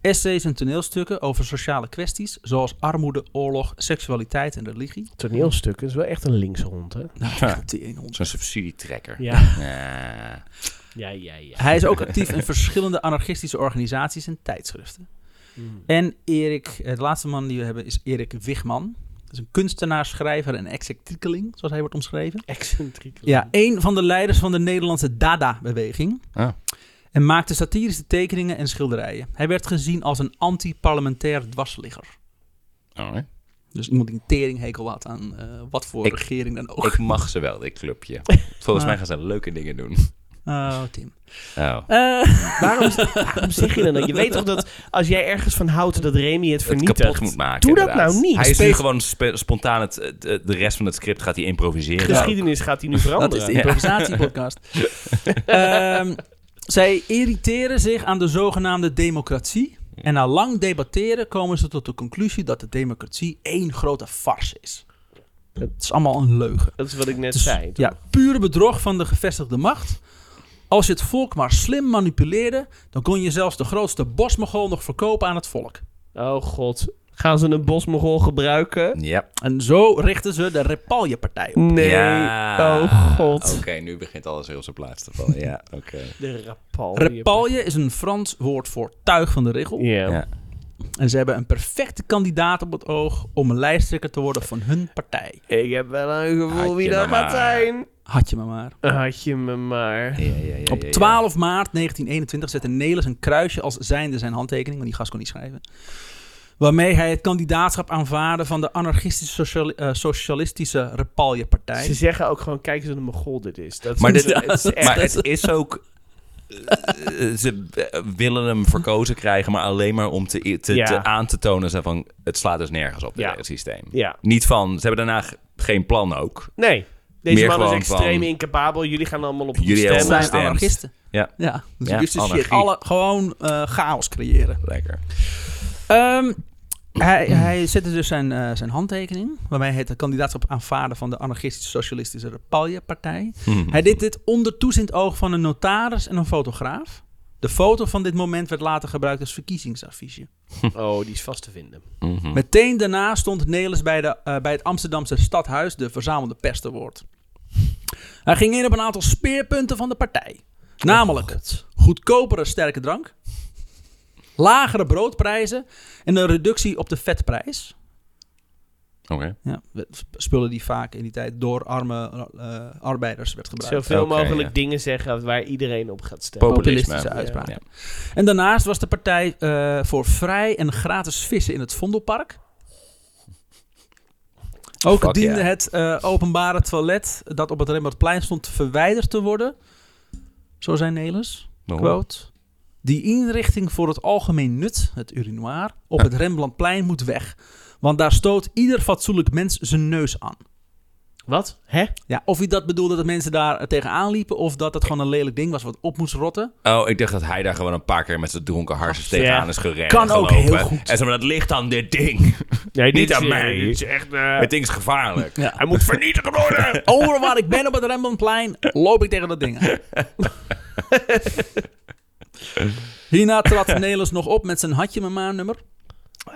essays en toneelstukken over sociale kwesties, zoals armoede, oorlog, seksualiteit en [LAUGHS] religie. Nou, Toneelstukken is wel echt een linkse hond, hè? Ja. Teringhond. Zo'n subsidietrekker. Eh, Ja. Ja. Ja, ja, ja. Hij is ook actief in verschillende anarchistische organisaties en tijdschriften. Mm. En Erik, eh, de laatste man die we hebben is Erik Wigman. Dat is een kunstenaar, schrijver en excentriekeling, zoals hij wordt omschreven. Excentriek. Ja, een van de leiders van de Nederlandse Dada-beweging. Ah. En maakte satirische tekeningen en schilderijen. Hij werd gezien als een anti-parlementair dwarsligger. Alright. Dus iemand die een teringhekel had aan eh, wat voor Ik- regering dan [LAUGHS] ook. Ik mag ze wel, dit [LAUGHS] clubje. Volgens mij gaan ze leuke dingen doen. Oh, Tim. Oh. Eh, Waarom, waarom zeg je dan dat? Je weet toch dat als jij ergens van houdt dat Remy het Het vernietigt. kapot moet maken. Doe dat inderdaad. nou niet. Hij is nu Steeds- gewoon spe- spontaan het, het- het- de rest van het script gaat hij improviseren. Geschiedenis gaat hij nu veranderen. dat is de [LAUGHS] improvisatiepodcast. Ehm, zij irriteren zich aan de zogenaamde democratie. En na lang debatteren komen ze tot de conclusie dat de democratie één grote farce is. Het is allemaal een leugen. Dat is wat ik net Dus, zei. toch? ja, pure bedrog van de gevestigde macht. Als je het volk maar slim manipuleerde, dan kon je zelfs de grootste bosmogol nog verkopen aan het volk. Oh god. Gaan ze een bosmogol gebruiken? Ja. En zo richtten ze de Repalje-partij op. Nee. Ja. Oh Oké, god. nu begint alles heel op zijn plaats te vallen. Ja, oké. De rapal. Repalje is een Frans woord voor tuig van de regel. Ja. Ja. En ze hebben een perfecte kandidaat op het oog om een lijsttrekker te worden van hun partij. Ik heb wel een Had gevoel wie je dat me maar. gaat zijn. Had je maar maar. Had je me maar. Ja, ja, ja, ja, Op ja. 12 maart 1921 zette Nelis een kruisje als zijnde zijn handtekening, want die gast kon niet schrijven. Waarmee hij het kandidaatschap aanvaarde van de anarchistische sociali- eh, socialistische Ze Repalje-partij. zeggen ook gewoon, kijk eens wat een mogol dit is. Dat [LAUGHS] is Maar, dit, het is echt- maar het is ook... eh, ze eh, willen hem verkozen krijgen, maar alleen maar om te, te, Ja. te aan te tonen... Zo van, het slaat dus nergens op, dit Ja. hele systeem. Ja. Niet van, ze hebben daarna g- geen plan ook. Nee. Deze Meer man is gewoon extreem van- incapabel. Jullie gaan allemaal op Jullie hem hebben Dat stemmen. zijn Stemt. anarchisten. Ja. ja. Dus Ja, dit is shit. anarchie. Alle, gewoon eh, chaos creëren. Lekker. Ehm, hij, hij zette dus zijn, eh, zijn handtekening, waarmee hij het kandidaatschap aanvaarde van de anarchistische socialistische Repalje-partij. Hij deed dit onder toezicht oog van een notaris en een fotograaf. De foto van dit moment werd later gebruikt als verkiezingsaffiche. Oh, die is vast te vinden. Mhm. Meteen daarna stond Nelis bij, de, eh, bij het Amsterdamse stadhuis de verzamelde pers te woord. Hij ging in op een aantal speerpunten van de partij. Namelijk goedkopere sterke drank, lagere broodprijzen en een reductie op de vetprijs. Oké. Ja, we- spullen die vaak in die tijd door arme eh, arbeiders werd gebruikt. Zoveel Oké, mogelijk ja. dingen zeggen waar iedereen op gaat stemmen. Populisme. Populistische uitspraken. Ja. En daarnaast was de partij eh, voor vrij en gratis vissen in het Vondelpark. Ook Fuck diende yeah. het eh, openbare toilet dat op het Rembrandtplein stond verwijderd te worden. Zo zei Nelis, Nog wel. quote. Die inrichting voor het algemeen nut, het urinoir, op het Rembrandtplein moet weg. Want daar stoot ieder fatsoenlijk mens zijn neus aan. Wat? Hè? Ja, of hij dat bedoelde dat mensen daar tegenaan liepen... of dat het gewoon een lelijk ding was wat op moest rotten. Oh, ik dacht dat hij daar gewoon een paar keer met zijn dronken harsjes Ja. tegenaan is gerend. Kan en ook gelopen. heel goed. En ze maar dat ligt aan dit ding. Nee, Niet aan mij. dit is echt, eh, Het ding is gevaarlijk. Ja. Hij moet vernietigd [LAUGHS] worden. Overal waar ik ben op het Rembrandtplein loop ik tegen dat ding aan. [LAUGHS] Hierna trad Nelis nog op met zijn hatje met maar nummer.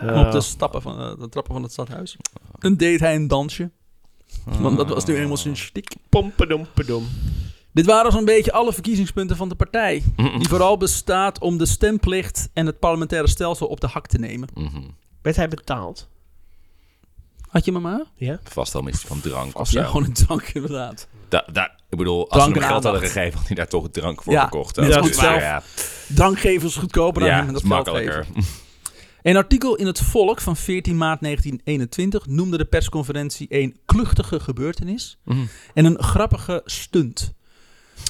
Ja. Op de, stappen van, eh, de trappen van het stadhuis. En deed hij een dansje. Want dat Ah. was nu eenmaal zijn stiek. Pompedompedom. Dit waren zo'n beetje alle verkiezingspunten van de partij. Die vooral bestaat om de stemplicht en het parlementaire stelsel op de hak te nemen. Mhm. Werd hij betaald? Had je mama? Ja. Vast wel iets van drank of Of zo. ja, gewoon een drank inderdaad. Da- da- ik bedoel, als ze Drank hem en geld hadden aandacht. gegeven, had hij daar toch drank voor Ja, gekocht. net Dat als is- zelf. ja, Drank geven is goedkoper dan ja hem dat dat is geld geven. makkelijker. Een artikel in het Volk van 14 maart 1921 noemde de persconferentie een kluchtige gebeurtenis en een grappige stunt.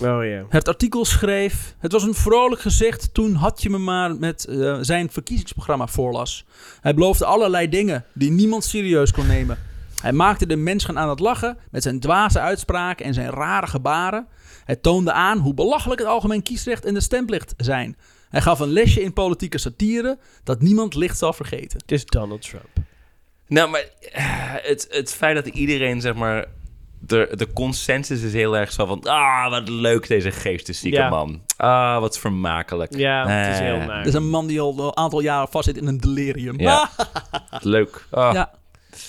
Oh ja. Het artikel schreef: Het was een vrolijk gezicht toen had je me maar met eh, zijn verkiezingsprogramma voorlas. Hij beloofde allerlei dingen die niemand serieus kon nemen. Hij maakte de mensen aan het lachen met zijn dwaze uitspraken en zijn rare gebaren. Hij toonde aan hoe belachelijk het algemeen kiesrecht en de stemplicht zijn. Hij gaf een lesje in politieke satire dat niemand licht zal vergeten. Het is Donald Trump. Nou, maar eh, het, het feit dat iedereen, zeg maar... De, de consensus is heel erg zo van... Ah, wat leuk deze geesteszieke Ja. man. Ah, wat vermakelijk. Ja, het is Eh, heel naar. Er is een man die al een aantal jaren vastzit in een delirium. Ah. [LAUGHS] Ja. Leuk. Ah. Ja.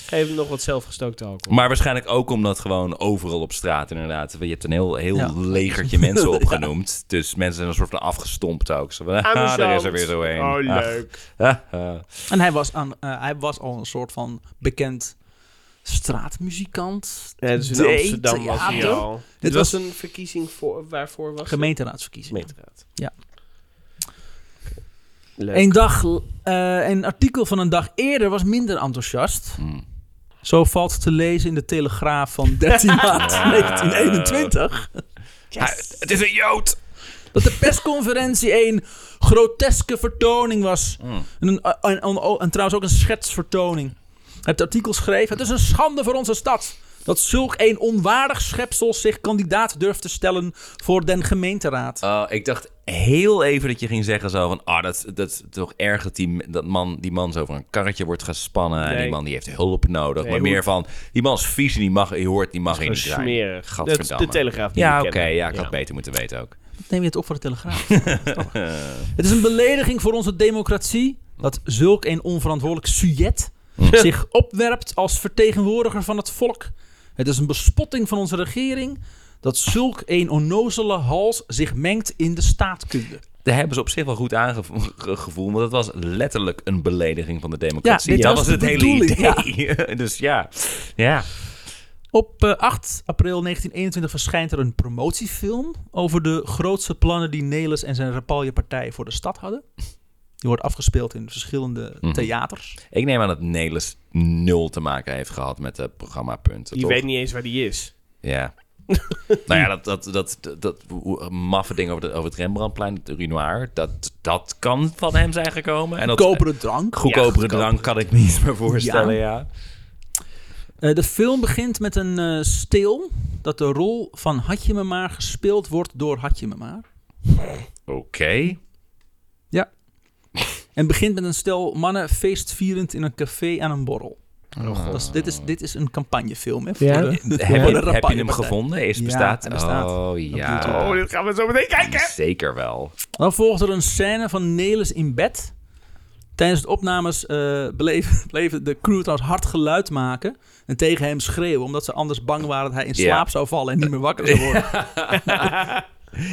Geef hem nog wat zelfgestookte alcohol. Maar waarschijnlijk ook omdat gewoon overal op straat inderdaad... Je hebt een heel, heel Ja. legertje [LAUGHS] mensen opgenoemd. Dus mensen zijn een soort van afgestompt ook. Zo van, ah, daar is er weer zo een. Oh, Ah, leuk. ah, ah. En hij was, aan, eh, hij was al een soort van bekend straatmuzikant. Ja, dus in Date, Amsterdam was hij theater. al. Dit Dit was, was- een verkiezing voor... Waarvoor was het? Gemeenteraadsverkiezingen. Gemeenteraad. Ja. Oké. Leuk. Een, dag, eh, een artikel van een dag eerder was minder enthousiast. Hmm. Zo valt te lezen in de Telegraaf [LAUGHS] van 13 maart 1921... Ah, het is een jood! dat de persconferentie een groteske vertoning was. Hmm. En, een, en- en- en trouwens ook een schetsvertoning. Het artikel schreef: Het is een schande voor onze stad. Dat zulk een onwaardig schepsel zich kandidaat durft te stellen voor den gemeenteraad. Oh, ik dacht heel even dat je ging zeggen zo van... Ah, dat, dat is toch erg dat die, dat man, die man zo van een karretje wordt gespannen. En Nee. die man die heeft hulp nodig. Nee, maar hoe- meer van, die man is vies en die mag, je hoort, die mag hier Gewoon niet zijn. smerig. Dat is de Gadverdamme. Telegraaf die ja, we oké. kennen. ja, ik had beter moeten weten ook. Neem je het op voor de Telegraaf? [LAUGHS] het is een belediging voor onze democratie dat zulk een onverantwoordelijk sujet zich opwerpt als vertegenwoordiger van het volk. Het is een bespotting van onze regering dat zulk een onnozele hals zich mengt in de staatkunde. Daar hebben ze op zich wel goed aangevoeld. Want dat was letterlijk een belediging van de democratie. Ja, dit dat was was, de het hele bedoeling, idee. [LAUGHS] dus ja. ja. Op eh, 8 april 1921 verschijnt er een promotiefilm over de grootste plannen die Nelis en zijn Rapalje-partij voor de stad hadden. Die wordt afgespeeld in verschillende Mhm. theaters. Ik neem aan dat Nelis nul te maken heeft gehad met het programma punten. Die toch? weet niet eens waar die [LAUGHS] is. Ja. nou ja, dat, dat, dat, dat, dat hoe- eh, maffe ding over, de, over het Rembrandtplein, het urinoir, dat, dat kan van hem zijn gekomen. En dat, Koperen drank. goedkopere drank kan ik me iets [LAUGHS] meer voorstellen, ja. Eh, de film begint met een eh stil dat de rol van Hatje me maar gespeeld wordt door Hatje me maar. Oké. En begint met een stel mannen feestvierend in een café aan een borrel. Dat is, dit, is, dit is een campagnefilm, hè? [LAUGHS] Ja. Voor de, [LAUGHS] Oh, Heb, voor de je, heb je hem Rapanje-partij. gevonden? Is Ja, bestaat? hij bestaat. Oh YouTube. ja. Oh, dit gaan we zo meteen kijken. Zeker wel. Dan volgde er een scène van Nelis in bed. Tijdens de opnames eh [LAUGHS] bleef, bleef de crew trouwens hard geluid maken. En tegen hem schreeuwen, omdat ze anders bang waren dat hij in Ja. slaap zou vallen en niet meer wakker zou worden.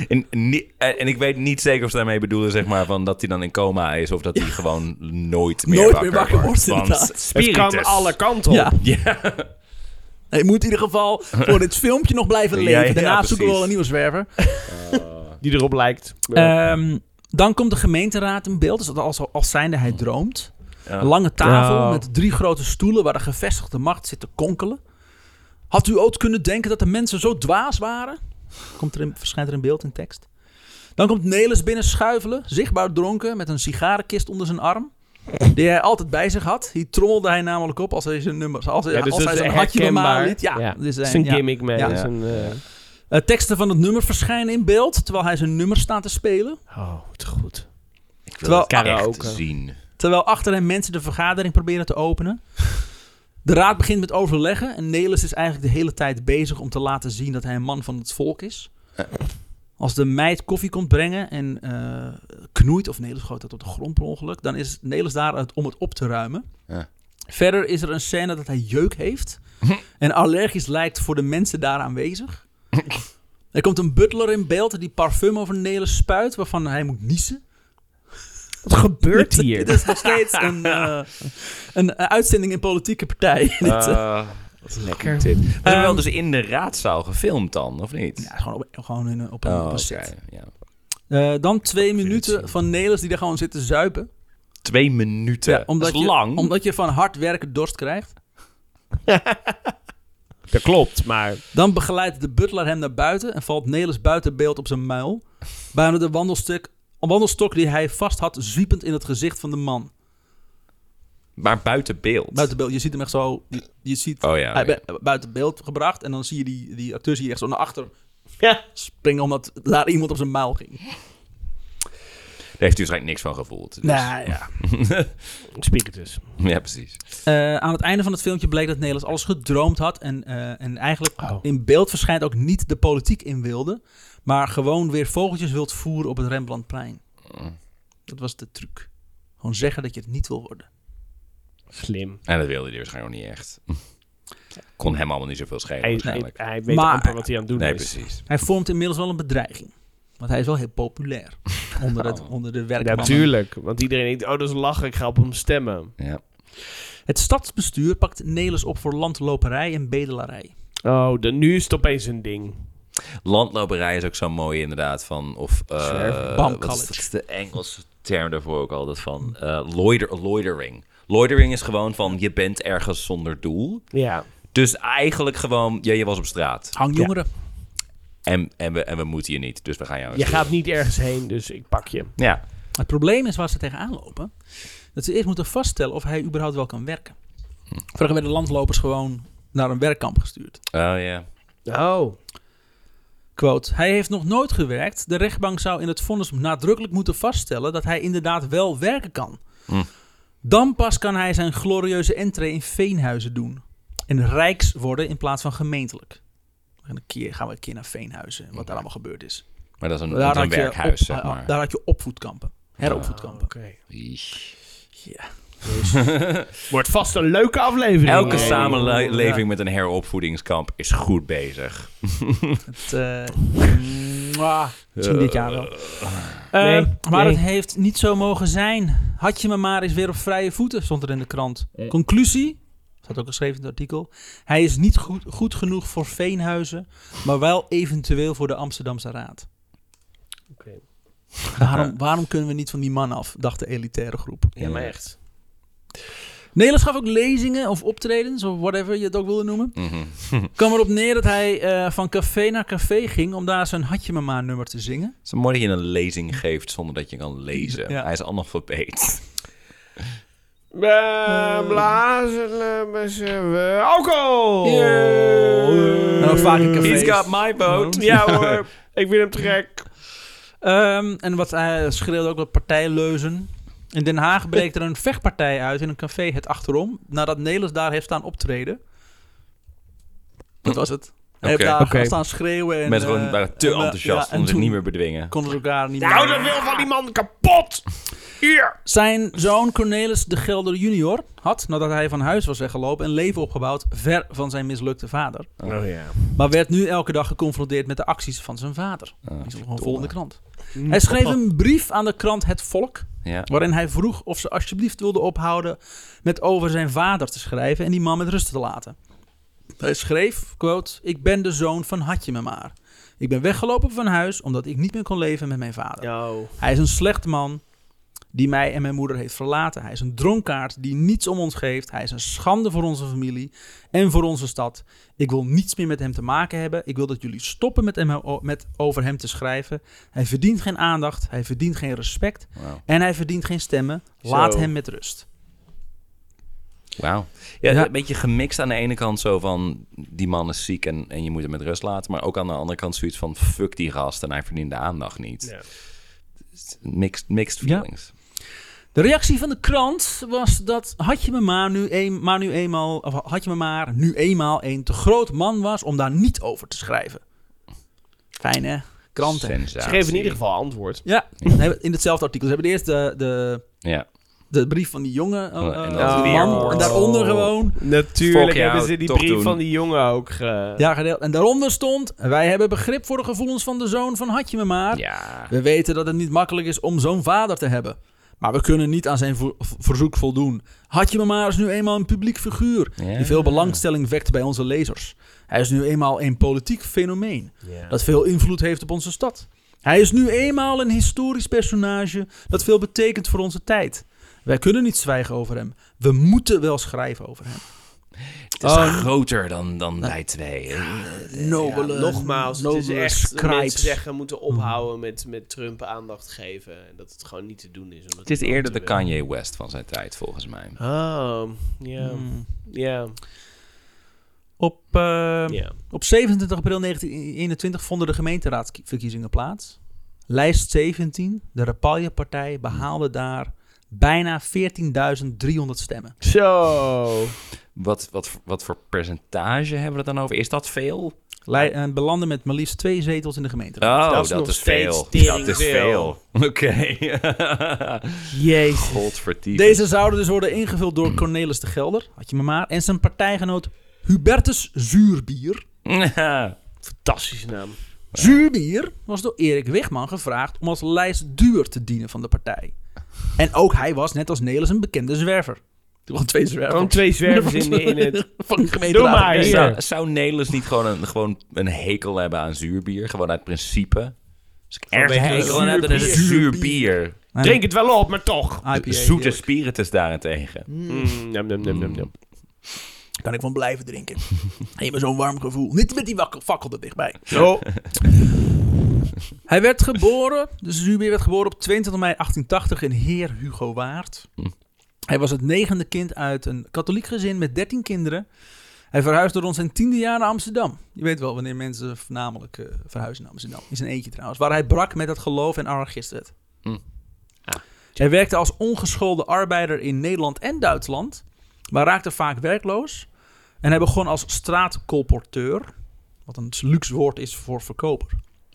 En, ni- eh, en en ik weet niet zeker of ze daarmee bedoelen, zeg maar, van dat hij dan in coma is of dat hij gewoon nooit meer Nooit wakker, meer wakker wordt, inderdaad. Want Het spiritus. kan alle kanten op. Ja. [LAUGHS] Ja. Hij moet in ieder geval voor dit filmpje nog blijven Ja, leven. ja, Daarna precies. zoeken we wel een nieuwe zwerver. Die erop lijkt. Ehm, dan komt de gemeenteraad in beeld, dus dat als, als zijnde hij droomt. Ja. Een lange tafel Oh. met drie grote stoelen waar de gevestigde macht zit te konkelen. Had u ooit kunnen denken dat de mensen zo dwaas waren? Komt er in, verschijnt er in beeld in tekst. Dan komt Nelis binnen schuivelen, zichtbaar dronken, met een sigarenkist onder zijn arm. Die hij altijd bij zich had. Die trommelde hij namelijk op als hij zijn nummers. Als hij, Ja, dus als dat hij is zijn hartje normaal herkenbaar. liet. Ja, Ja. dit is Dat is zijn- een ja. gimmick, man. Ja. Dat is een, eh, Eh, teksten van het nummer verschijnen in beeld, terwijl hij zijn nummer staat te spelen. Oh, wat goed. Ik wil Terwijl- Ah, het echt Karaoke. zien. Terwijl achter hem mensen de vergadering proberen te openen. De raad begint met overleggen en Nelis is eigenlijk de hele tijd bezig om te laten zien dat hij een man van het volk is. Als de meid koffie komt brengen en eh, knoeit, of Nelis gooit dat op de grond per ongeluk, dan is Nelis daar het- om het op te ruimen. Ja. Verder is er een scène dat hij jeuk heeft en allergisch lijkt voor de mensen daar aanwezig. Er komt een butler in beeld die parfum over Nelis spuit, waarvan hij moet niezen. Wat gebeurt [LAUGHS] Dit- hier? Dit is nog steeds een, eh, een eh, uitzending in politieke partij. [LAUGHS] Dit, eh, Eh, Dat is lekker. dit. Maar ze hebben wel Ehm, dus in de raadzaal gefilmd dan, of niet? ja, gewoon op, gewoon in, een- op een, Oh, op een oké, set. ja. Eh, dan twee het minuten zien. van Nelis die daar gewoon zitten zuipen. Twee minuten. Ja, omdat, dat is je, lang. omdat je van hard werken dorst krijgt. Dat klopt, maar... Dan begeleidt de butler hem naar buiten en valt Nelis buiten beeld op zijn muil. Bijna de wandelstuk, wandelstok die hij vast had, zwiepend in het gezicht van de man. Maar buiten beeld. Buiten beeld, je ziet hem echt zo. Je, je ziet, Oh ja. hij oké. be- buiten beeld gebracht en dan zie je die, die acteur zie je echt zo naar achter Ja. springen omdat daar iemand op zijn muil ging. Daar heeft hij waarschijnlijk niks van gevoeld. dus- Nou ja. Spiritus. Ja, precies. Eh, aan het einde van het filmpje bleek dat Nederlands alles gedroomd had. En, eh, en eigenlijk Oh. in beeld verschijnt ook niet de politiek in wilde. Maar gewoon weer vogeltjes wilt voeren op het Rembrandtplein. Dat was de truc. Gewoon zeggen dat je het niet wil worden. Slim. En dat wilde hij waarschijnlijk ook niet [LAUGHS] echt. Kon hem allemaal niet zoveel schelen Hij, hij, dus. waarschijnlijk. hij weet Maar- amper wat hij aan het doen nee, is. precies. Hij vormt inmiddels wel een bedreiging. Want hij is wel heel populair onder, het, onder de werkmannen. Natuurlijk, want iedereen denkt, oh dat is lachen, ik ga op hem stemmen. Ja. Het stadsbestuur pakt Nelis op voor landloperij en bedelarij. Oh, de, nu is het opeens een ding. Landloperij is ook zo mooi inderdaad van... Of, eh, Zwerven. Bam wat is, college. wat is de Engelse term daarvoor ook altijd van? eh loider, loitering. Loitering is gewoon van je bent ergens zonder doel. Ja. Dus eigenlijk gewoon, ja, je was op straat. Hangjongeren. En, en, we, en we moeten je niet, dus we gaan jou... Je gaat niet ergens heen, dus ik pak je. Ja. Het probleem is waar ze tegenaan lopen. Dat ze eerst moeten vaststellen of hij überhaupt wel kan werken. Vroeger werden landlopers gewoon naar een werkkamp gestuurd. Oh ja. Oh. Quote, hij heeft nog nooit gewerkt. De rechtbank zou in het vonnis nadrukkelijk moeten vaststellen dat hij inderdaad wel werken kan. Hm. Dan pas kan hij zijn glorieuze entree in Veenhuizen doen. En rijks worden in plaats van gemeentelijk. En een keer gaan we een keer naar Veenhuizen en wat daar allemaal gebeurd is. Maar dat is een, Daar dat is een had, je werkhuis, op- eh, zeg maar. daar had je opvoedkampen. Heropvoedkampen. Oké. Iech. Ja. [LAUGHS] Wordt vast een leuke aflevering. Elke Nee. samenleving met een heropvoedingskamp is goed bezig. Het, eh, mwah, misschien dit jaar wel. Eh, Nee, maar nee. het heeft niet zo mogen zijn. Had je me maar eens weer op vrije voeten, stond er in de krant. Conclusie, staat ook geschreven in het artikel. Hij is niet goed, goed genoeg voor Veenhuizen, maar wel eventueel voor de Amsterdamse [LAUGHS] Raad. Oké. Waarom, waarom kunnen we niet van die man af, dacht de elitaire groep. Ja, maar echt. Nederlands gaf ook lezingen of optredens, of whatever je het ook wilde noemen. Mm. Mhm. Kwam erop neer dat hij eh, van café naar café ging om daar zijn Had je me maar nummer te zingen. Het is mooi dat je een lezing geeft zonder dat je kan lezen. Ja. Hij is analfabeet. Eh. Blazen met z'n alcohol. En Nou, dan vaak een café. He's got my boat. Ja hoor, [LAUGHS] ik vind hem te gek. eh, Ehm, en wat hij schreeuwde ook wat partijleuzen. In Den Haag breekt er een vechtpartij uit in een café het achterom. Nadat Nelis daar heeft staan optreden. Dat was het. Hij heeft Oké. daar Oké. staan schreeuwen. En, Mensen eh, gewoon waren te en, eh, enthousiast, ja, en konden zich toen niet meer bedwingen. Konden ze elkaar niet Nou, meer- de wil van die man kapot! Hier! Zijn zoon Cornelis de Gelder junior had, nadat hij van huis was weggelopen, een leven opgebouwd ver van zijn mislukte vader. Oh ja. Maar werd nu elke dag geconfronteerd met de acties van zijn vader. Ah, Die is nog een verdomme. volgende krant. Hij schreef een brief aan de krant Het Volk, Ja. waarin hij vroeg of ze alsjeblieft wilde ophouden met over zijn vader te schrijven en die man met rust te laten. Hij schreef, quote, ik ben de zoon van Hatje me maar. Ik ben weggelopen van huis omdat ik niet meer kon leven met mijn vader. Yo. Hij is een slecht man die mij en mijn moeder heeft verlaten. Hij is een dronkaard die niets om ons geeft. Hij is een schande voor onze familie en voor onze stad. Ik wil niets meer met hem te maken hebben. Ik wil dat jullie stoppen met, hem, eh, met over hem te schrijven. Hij verdient geen aandacht. Hij verdient geen respect. Wauw. En hij verdient geen stemmen. Laat Zo. hem met rust. Wauw. Ja, Ja. Een beetje gemixt aan de ene kant zo van... die man is ziek en, en je moet hem met rust laten. Maar ook aan de andere kant zoiets van... fuck die gast en hij verdient de aandacht niet. Ja. Mixed, mixed Ja. feelings. De reactie van de krant was dat had je me maar nu, een, maar nu eenmaal, of had je me maar nu eenmaal een te groot man was om daar niet over te schrijven. Fijn hè? Kranten. Sensatie. Ze geven in ieder geval antwoord. Ja, we hebben in hetzelfde artikel. Ze hebben eerst de, de, Ja. de brief van die jongen, eh, Oh, en eh, dan Oh. die weer man, hoort. en daaronder gewoon. Natuurlijk Fuck jou, hebben ze die toch brief doen. van die jongen ook ge... Ja, gedeeld. En daaronder stond, wij hebben begrip voor de gevoelens van de zoon van Hatje me maar. Ja. We weten dat het niet makkelijk is om zo'n vader te hebben. Maar we kunnen niet aan zijn vo- verzoek voldoen. Hatje me maar is nu eenmaal een publiek figuur Ja. die veel belangstelling wekt bij onze lezers. Hij is nu eenmaal een politiek fenomeen. dat veel invloed heeft op onze stad. Hij is nu eenmaal een historisch personage dat veel betekent voor onze tijd. Wij kunnen niet zwijgen over hem. We moeten wel schrijven over hem. Het is Ehm, Oh. groter dan, dan nou, wij twee. Nobele, Nogmaals, het is nobele echt dat scribes. mensen zeggen moeten ophouden met, met Trump aandacht geven. En dat het gewoon niet te doen is. Omdat Het is iemand eerder de te willen. Kanye West van zijn tijd, volgens mij. Oh, ja. Hmm. Ja, Op, eh, ja. op 27 april 1921 vonden de gemeenteraadsverkiezingen plaats. Lijst 17, de Rapalje-partij, behaalde daar bijna 14.300 stemmen. Zo. Wat, wat, wat voor percentage hebben we het dan over? Is dat veel? Lij- en belanden met maar liefst twee zetels in de gemeenteraad. Oh, Dat is dat, nog is steeds veel. tering Dat is veel. veel. [LAUGHS] Oké. Jezus. Godverdiend. [LAUGHS] Deze zouden dus worden ingevuld door Cornelis de Gelder, had je me maar, en zijn partijgenoot Hubertus Zuurbier. Fantastische naam. Zuurbier was door Erik Wigman gevraagd om als lijstduur te dienen van de partij. En ook hij was, net als Nelis, een bekende zwerver. Gewoon twee Gewoon zwervers twee [LAUGHS] zwervers in, de- in het... van de Doe gemeenteraad. maar hier. zou, zou Nelis niet gewoon een, gewoon een hekel hebben aan zuurbier? Gewoon uit principe? Als ik ergens een Vanwege hekel aan heb, dan is het zuurbier. zuurbier. Nee, Drink het wel op, maar toch. IPA, Zoete heerlijk. spiritus daarentegen. Mm, nam, nam, nam, nam, nam. Kan ik van blijven [LAUGHS] drinken. Helemaal zo'n warm gevoel. Niet met die wakkel, fakkel er dichtbij. Zo. Hij werd geboren, dus Zuurbier werd geboren op 22 mei 1880 in Heer Hugo Waard. Hm. Hij was het negende kind uit een katholiek gezin met 13 kinderen. Hij verhuisde rond zijn tiende jaar naar Amsterdam. Je weet wel wanneer mensen voornamelijk eh, verhuizen naar Amsterdam. In zijn eentje trouwens. Waar hij brak met het geloof en anarchist werd. Hm. Ah. Hij werkte als ongeschoolde arbeider in Nederland en Duitsland. Maar raakte vaak werkloos. En hij begon als straatcolporteur. Wat een luxe woord is voor verkoper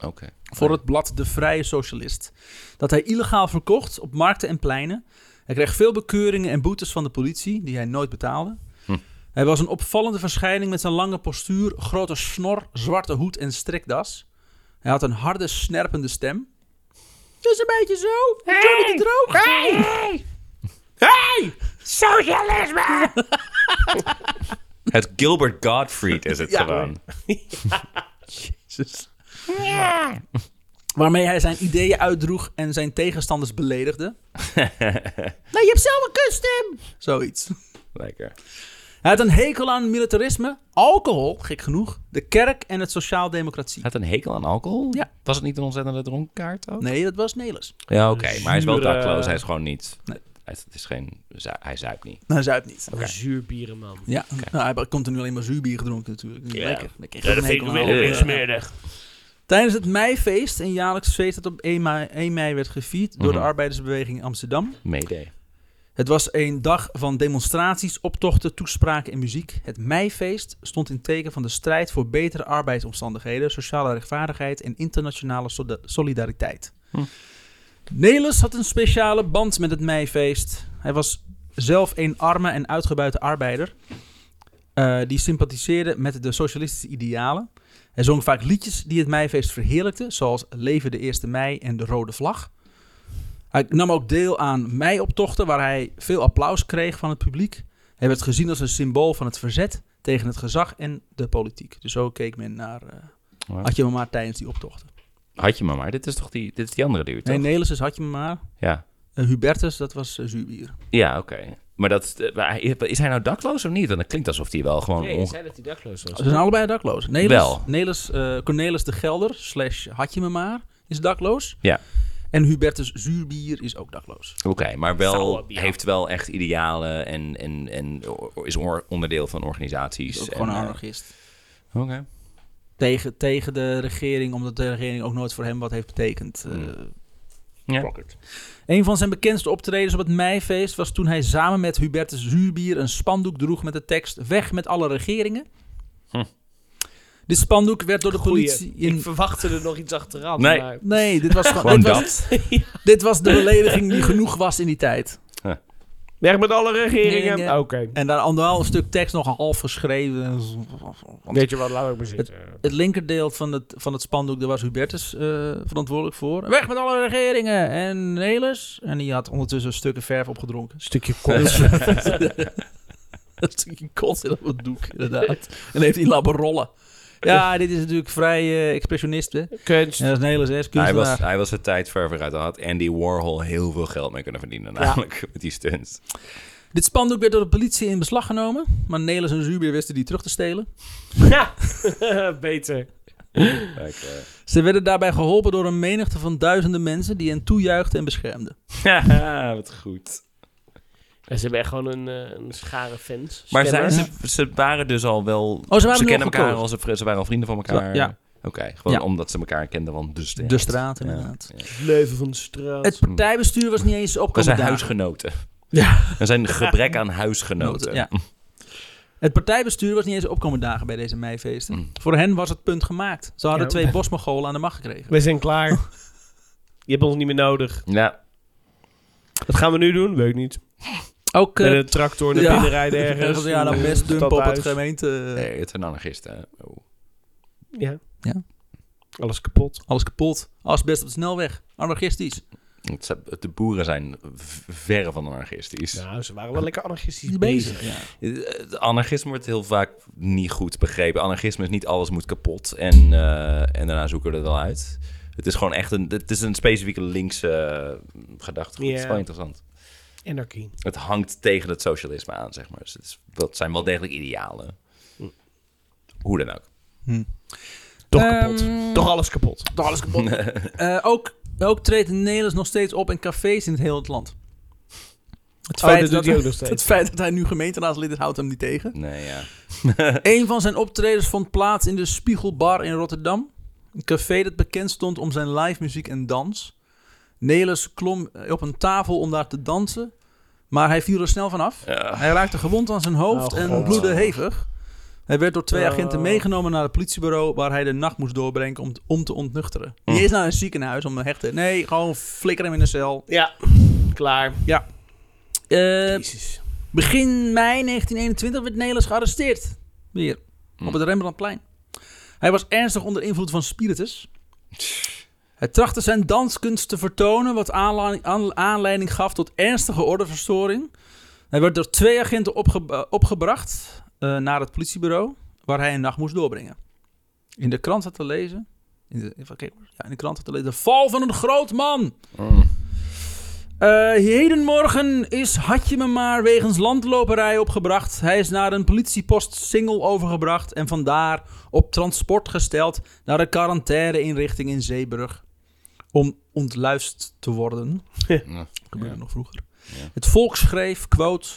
Oké. voor het blad De Vrije Socialist. Dat hij illegaal verkocht op markten en pleinen. Hij kreeg veel bekeuringen en boetes van de politie, die hij nooit betaalde. Hm. Hij was een opvallende verschijning met zijn lange postuur, grote snor, zwarte hoed en strikdas. Hij had een harde, snerpende stem. Dus een beetje zo. Johnny de Droog. Het Gilbert Gottfried is [LAUGHS] het Ja. gewoon. Waarmee hij zijn ideeën uitdroeg en zijn tegenstanders [LAUGHS] beledigde. nou, je hebt zelf een kunststem. Zoiets. Lekker. Hij had een hekel aan militarisme, alcohol, gek genoeg, de kerk en het sociaal-democratie. Had een hekel aan alcohol? Ja. Was het niet een ontzettende dronkaart ook? Nee, dat was Nelis. Ja, oké. Maar hij is wel Zure- dakloos. Hij is gewoon niet... Nee. Hij, het is geen, zu- hij zuipt niet. Nou, zuipt niet. Een Zuurbierenman. Ja, nou, hij heeft continu alleen maar zuurbier gedronken natuurlijk. Lekker. Lekker. Ja, Geen dat vind ik hekel weer aan weer alcohol. smerig. Tijdens het meifeest, een jaarlijks feest dat op 1 mei, 1 mei werd gevierd door Mhm. de arbeidersbeweging Amsterdam. Mayday. Het was een dag van demonstraties, optochten, toespraken en muziek. Het meifeest stond in teken van de strijd voor betere arbeidsomstandigheden, sociale rechtvaardigheid en internationale soda- solidariteit. Hm. Nelis had een speciale band met het meifeest. Hij was zelf een arme en uitgebuite arbeider eh, die sympathiseerde met de socialistische idealen. Hij zong vaak liedjes die het meifeest verheerlijkten, zoals Leven de 1 mei en De Rode Vlag. Hij nam ook deel aan meioptochten, waar hij veel applaus kreeg van het publiek. Hij werd gezien als een symbool van het verzet tegen het gezag en de politiek. Dus zo keek men naar eh Wauw. Had je me maar tijdens die optochten. Had je maar maar. Dit is toch die, dit is die andere dude, toch? Nee, Nelis is Had je me maar. Ja, Eh, Hubertus, dat was eh, Zuurbier. ja oké. Maar dat, is- eh, maar hij- is hij nou dakloos of niet? Want dat klinkt alsof hij wel gewoon... Nee, onge- ik zei dat hij dakloos was. Ze zijn allebei dakloos. Nelis, Wel. Nelis, eh, Cornelis de Gelder slash Had je me maar is dakloos. Ja. En Hubertus Zuurbier is ook dakloos. Oké, maar wel, Sauerbier. heeft wel echt idealen en, en, en o- is oor- onderdeel van organisaties. Is ook en, gewoon een eh, anarchist. Oké. Tegen, tegen de regering, omdat de regering ook nooit voor hem wat heeft betekend. eh, Hmm. Ja. Een van zijn bekendste optredens op het meifeest was toen hij samen met Hubertus Zuurbier een spandoek droeg met de tekst Weg met alle regeringen. Hm. Dit spandoek werd door de Goeie. politie Ik in... verwachtte er nog iets achteraan. Nee. Maar... Nee, dit was gewoon... Gewoon dit, was, dat. dit was de belediging die genoeg was in die tijd. Weg met alle regeringen. Nee, nee. Oké. En daar anderhalf stuk tekst nog half geschreven. Want Weet je wat, laat ik maar zitten. het linkerdeel van het, van het spandoek, daar was Hubertus eh, verantwoordelijk voor. Weg met alle regeringen! En Nelis. En die had ondertussen stukken verf opgedronken. Stukje [LAUGHS] kort. Een stukje kots op het doek, inderdaad. En heeft hij lappen rollen. Ja, dit is natuurlijk vrij eh, expressionist, hè? En Kunst. dat is Nelis, hè? is Hij kunstenaar. was, hij was de tijd ver vooruit. Daar had Andy Warhol heel veel geld mee kunnen verdienen, namelijk [LAUGHS] met die stunts. Dit spandoek werd door de politie in beslag genomen. Maar Nelis en Zuber wisten die terug te stelen. Ja, [LAUGHS] beter. Kijk, eh, Ze werden daarbij geholpen door een menigte van duizenden mensen die hen toejuichten en beschermden. Haha, [LAUGHS] wat goed. En ze hebben echt gewoon een, eh, een schare fans. Maar zijn Stemmers. ze, ze waren dus al wel... Oh, waren nu al kennen elkaar gekozen. al, ze, ze waren al vrienden van elkaar. Ja. Oké, gewoon Ja. omdat ze elkaar kenden, want de straat. De straat, Ja, inderdaad. ja. Het leven van de straat. Het partijbestuur was niet eens We opkomen zijn dagen. huisgenoten. Ja. We zijn gebrek aan huisgenoten. Ja. Het partijbestuur was niet eens opkomen dagen bij deze meifeesten. Mm. Voor hen was het punt gemaakt. Ze hadden Ja. twee bosmogolen aan de macht gekregen. [LAUGHS] We zijn klaar. Je hebt ons niet meer nodig. Ja, Wat gaan we nu doen? Weet ik niet. Ook eh, Met een tractor naar Ja. binnen [LAUGHS] rijden [LAUGHS] ergens. ja, dan Eh, best dumpen op het stadhuis. gemeente. nee, het zijn anarchisten. hè. Oh. Ja. Ja. Alles kapot. Alles kapot. Asbest op de snelweg. Anarchistisch. Het zijn- De boeren zijn v- verre van anarchistisch. Nou, ze waren wel lekker anarchistisch Die bezig. bezig. Ja. Eh, Anarchisme wordt heel vaak niet goed begrepen. Anarchisme is niet alles moet kapot en, eh, en daarna zoeken we er wel uit. Het is gewoon echt een, het is een specifieke linkse eh, gedachtegoed. Het is Ja. wel interessant. Anarchie. Het hangt tegen het socialisme aan, zeg maar. Dus het is, dat zijn wel degelijk idealen. Hm. Hoe dan ook. Toch kapot. Ehm, Toch alles kapot. Toch alles kapot. [LAUGHS] Eh, ook, ook treedt Nelis nog steeds op in cafés in het hele land. Het Oh, dat feit, doet dat, hij ook nog het steeds. feit dat hij nu gemeenteraadslid is, houdt hem niet tegen. Nee, ja. Een van zijn optredens vond plaats in de Spiegelbar in Rotterdam. Een café dat bekend stond om zijn live muziek en dans. Nelis klom op een tafel om daar te dansen, maar hij viel er snel van af. Eh, Hij raakte gewond aan zijn hoofd Oh, en God. bloedde hevig. Hij werd door twee Oh. agenten meegenomen naar het politiebureau... waar hij de nacht moest doorbrengen om, om te ontnuchteren. Niet eens naar een ziekenhuis om te hechten. Nee, gewoon flikker hem in een cel. Ja. Klaar. Eh, Jezus. begin mei 1921 werd Nelis gearresteerd. Weer. Hm. Op het Rembrandtplein. Hij was ernstig onder invloed van spiritus. Hij trachtte zijn danskunst te vertonen... wat aanla- aan- aanleiding gaf tot ernstige ordeverstoring. Hij werd door twee agenten opge- eh, opgebracht eh, naar het politiebureau... waar hij een nacht moest doorbrengen. In de krant had te lezen... In de, even kijken hoor. ja, in de krant had te lezen... De val van een groot man! mm. Eh, hedenmorgen is Hadje me maar wegens landloperij opgebracht. Hij is naar een politiepost Singel overgebracht en vandaar op transport gesteld naar de quarantaine-inrichting in Zeeburg. Om ontluist te worden. Ja. Dat gebeurde nog vroeger. Ja. Het volk schreef, quote...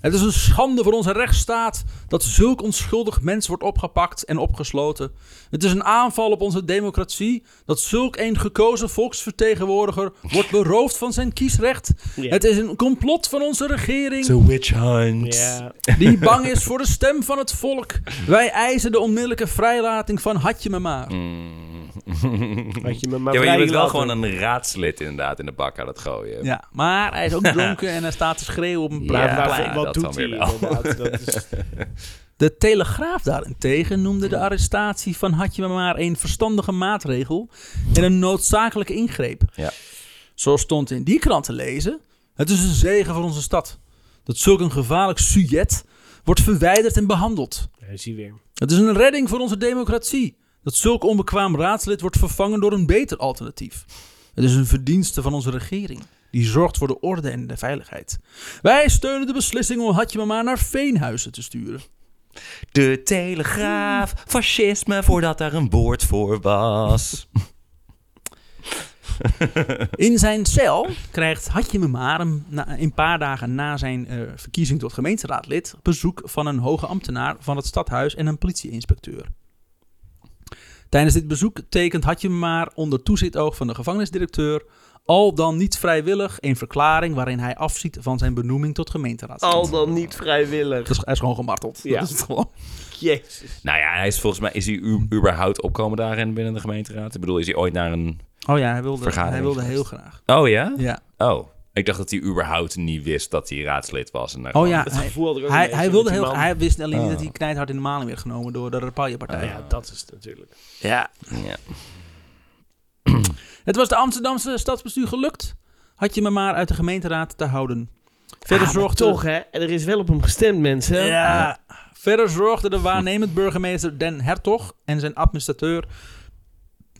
Het is een schande voor onze rechtsstaat dat zulk onschuldig mens wordt opgepakt en opgesloten. Het is een aanval op onze democratie dat zulk een gekozen volksvertegenwoordiger wordt beroofd van zijn kiesrecht. Ja. Het is een complot van onze regering witch hunt. [LAUGHS] Ja. die bang is voor de stem van het volk. Wij eisen de onmiddellijke vrijlating van Hatje me maar. Had je Ja, me maar maar je bent wel vrijgelaten. gewoon een raadslid inderdaad in de bak aan het gooien. Ja, maar hij is ook dronken en hij staat te schreeuwen op een Ja, plaats. Maar waar- ja, dat wat dan doet hij weer wel. inderdaad? Dat is- [LAUGHS] De Telegraaf daarentegen noemde de arrestatie van Hatje maar een verstandige maatregel en een noodzakelijke ingreep. Ja. Zo stond in die krant te lezen: Het is een zegen voor onze stad dat zulk een gevaarlijk sujet wordt verwijderd en behandeld. Daar is hij weer. Het is een redding voor onze democratie dat zulk onbekwaam raadslid wordt vervangen door een beter alternatief. Het is een verdienste van onze regering die zorgt voor de orde en de veiligheid. Wij steunen de beslissing om Hatje maar naar Veenhuizen te sturen. De Telegraaf, fascisme, voordat daar een woord voor was. In zijn cel krijgt Hatje Memarum na, een paar dagen na zijn eh, verkiezing tot gemeenteraadlid bezoek van een hoge ambtenaar van het stadhuis en een politieinspecteur. Tijdens dit bezoek tekent Hatje Maar onder toezichtoog van de gevangenisdirecteur al dan niet vrijwillig een verklaring waarin hij afziet van zijn benoeming tot gemeenteraadslid. Al dan niet vrijwillig. Dat is- Hij is gewoon gemarteld. Ja. Dat is het gewoon. Jezus. nou ja, hij is volgens mij, is hij u- überhaupt opkomen daarin binnen de gemeenteraad? Ik bedoel, is hij ooit naar een... Oh ja, hij wilde, Vergadering hij wilde heel geweest. graag. Oh ja? Ja. Oh. Ik dacht dat hij überhaupt niet wist dat hij raadslid was. En daar Oh gewoon- [LAUGHS] ja, Het hij, gevoel had ik ook hij, een hij beetje wilde met die heel, man. hij wist alleen niet Ah. dat hij knijthard in de maling werd genomen door de Rapalje-partij. Ja, dat is het natuurlijk. Ja. ja. Het was de Amsterdamse stadsbestuur gelukt. Had je me maar uit de gemeenteraad te houden. Verder Ah, maar zorgde... toch, hè? En er is wel op hem gestemd, mensen. Ja. Verder zorgde de waarnemend burgemeester Den Hertog en zijn administrateur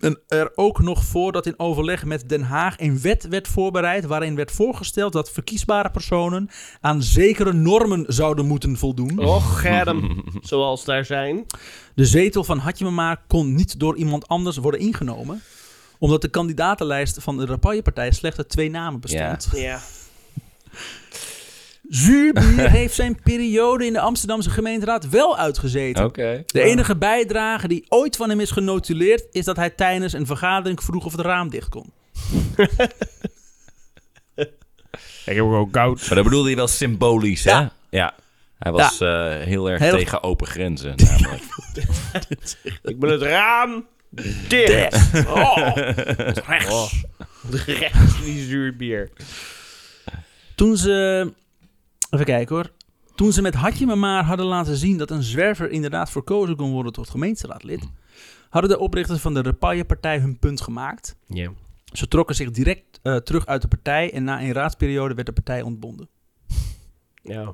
en er ook nog voor dat in overleg met Den Haag een wet werd voorbereid waarin werd voorgesteld dat verkiesbare personen aan zekere normen zouden moeten voldoen. Och, Germ. [LAUGHS] Zoals daar zijn. De zetel van Hatje me maar kon niet door iemand anders worden ingenomen, omdat de kandidatenlijst van de Rapaille-partij slechts uit twee namen bestond. Ja. Zuurbier heeft zijn periode in de Amsterdamse gemeenteraad wel uitgezeten. Oké. De enige bijdrage die ooit van hem is genotuleerd... is dat hij tijdens een vergadering vroeg of het raam dicht kon. Ik heb ook goud. Maar dat bedoelde hij wel symbolisch, hè? Ja. Ja. Hij was eh, heel erg Heel- tegen open grenzen, namelijk. Ik ben het raam [LAUGHS] dicht. Oh. Rechts. Rechts, die zuurbier. Toen ze... Even kijken hoor. Toen ze met Hatje me maar hadden laten zien... dat een zwerver inderdaad verkozen kon worden tot gemeenteraadlid... hadden de oprichters van de Repaille-partij hun punt gemaakt. Ja. Ze trokken zich direct eh, terug uit de partij... en na een raadsperiode werd de partij ontbonden. Ja.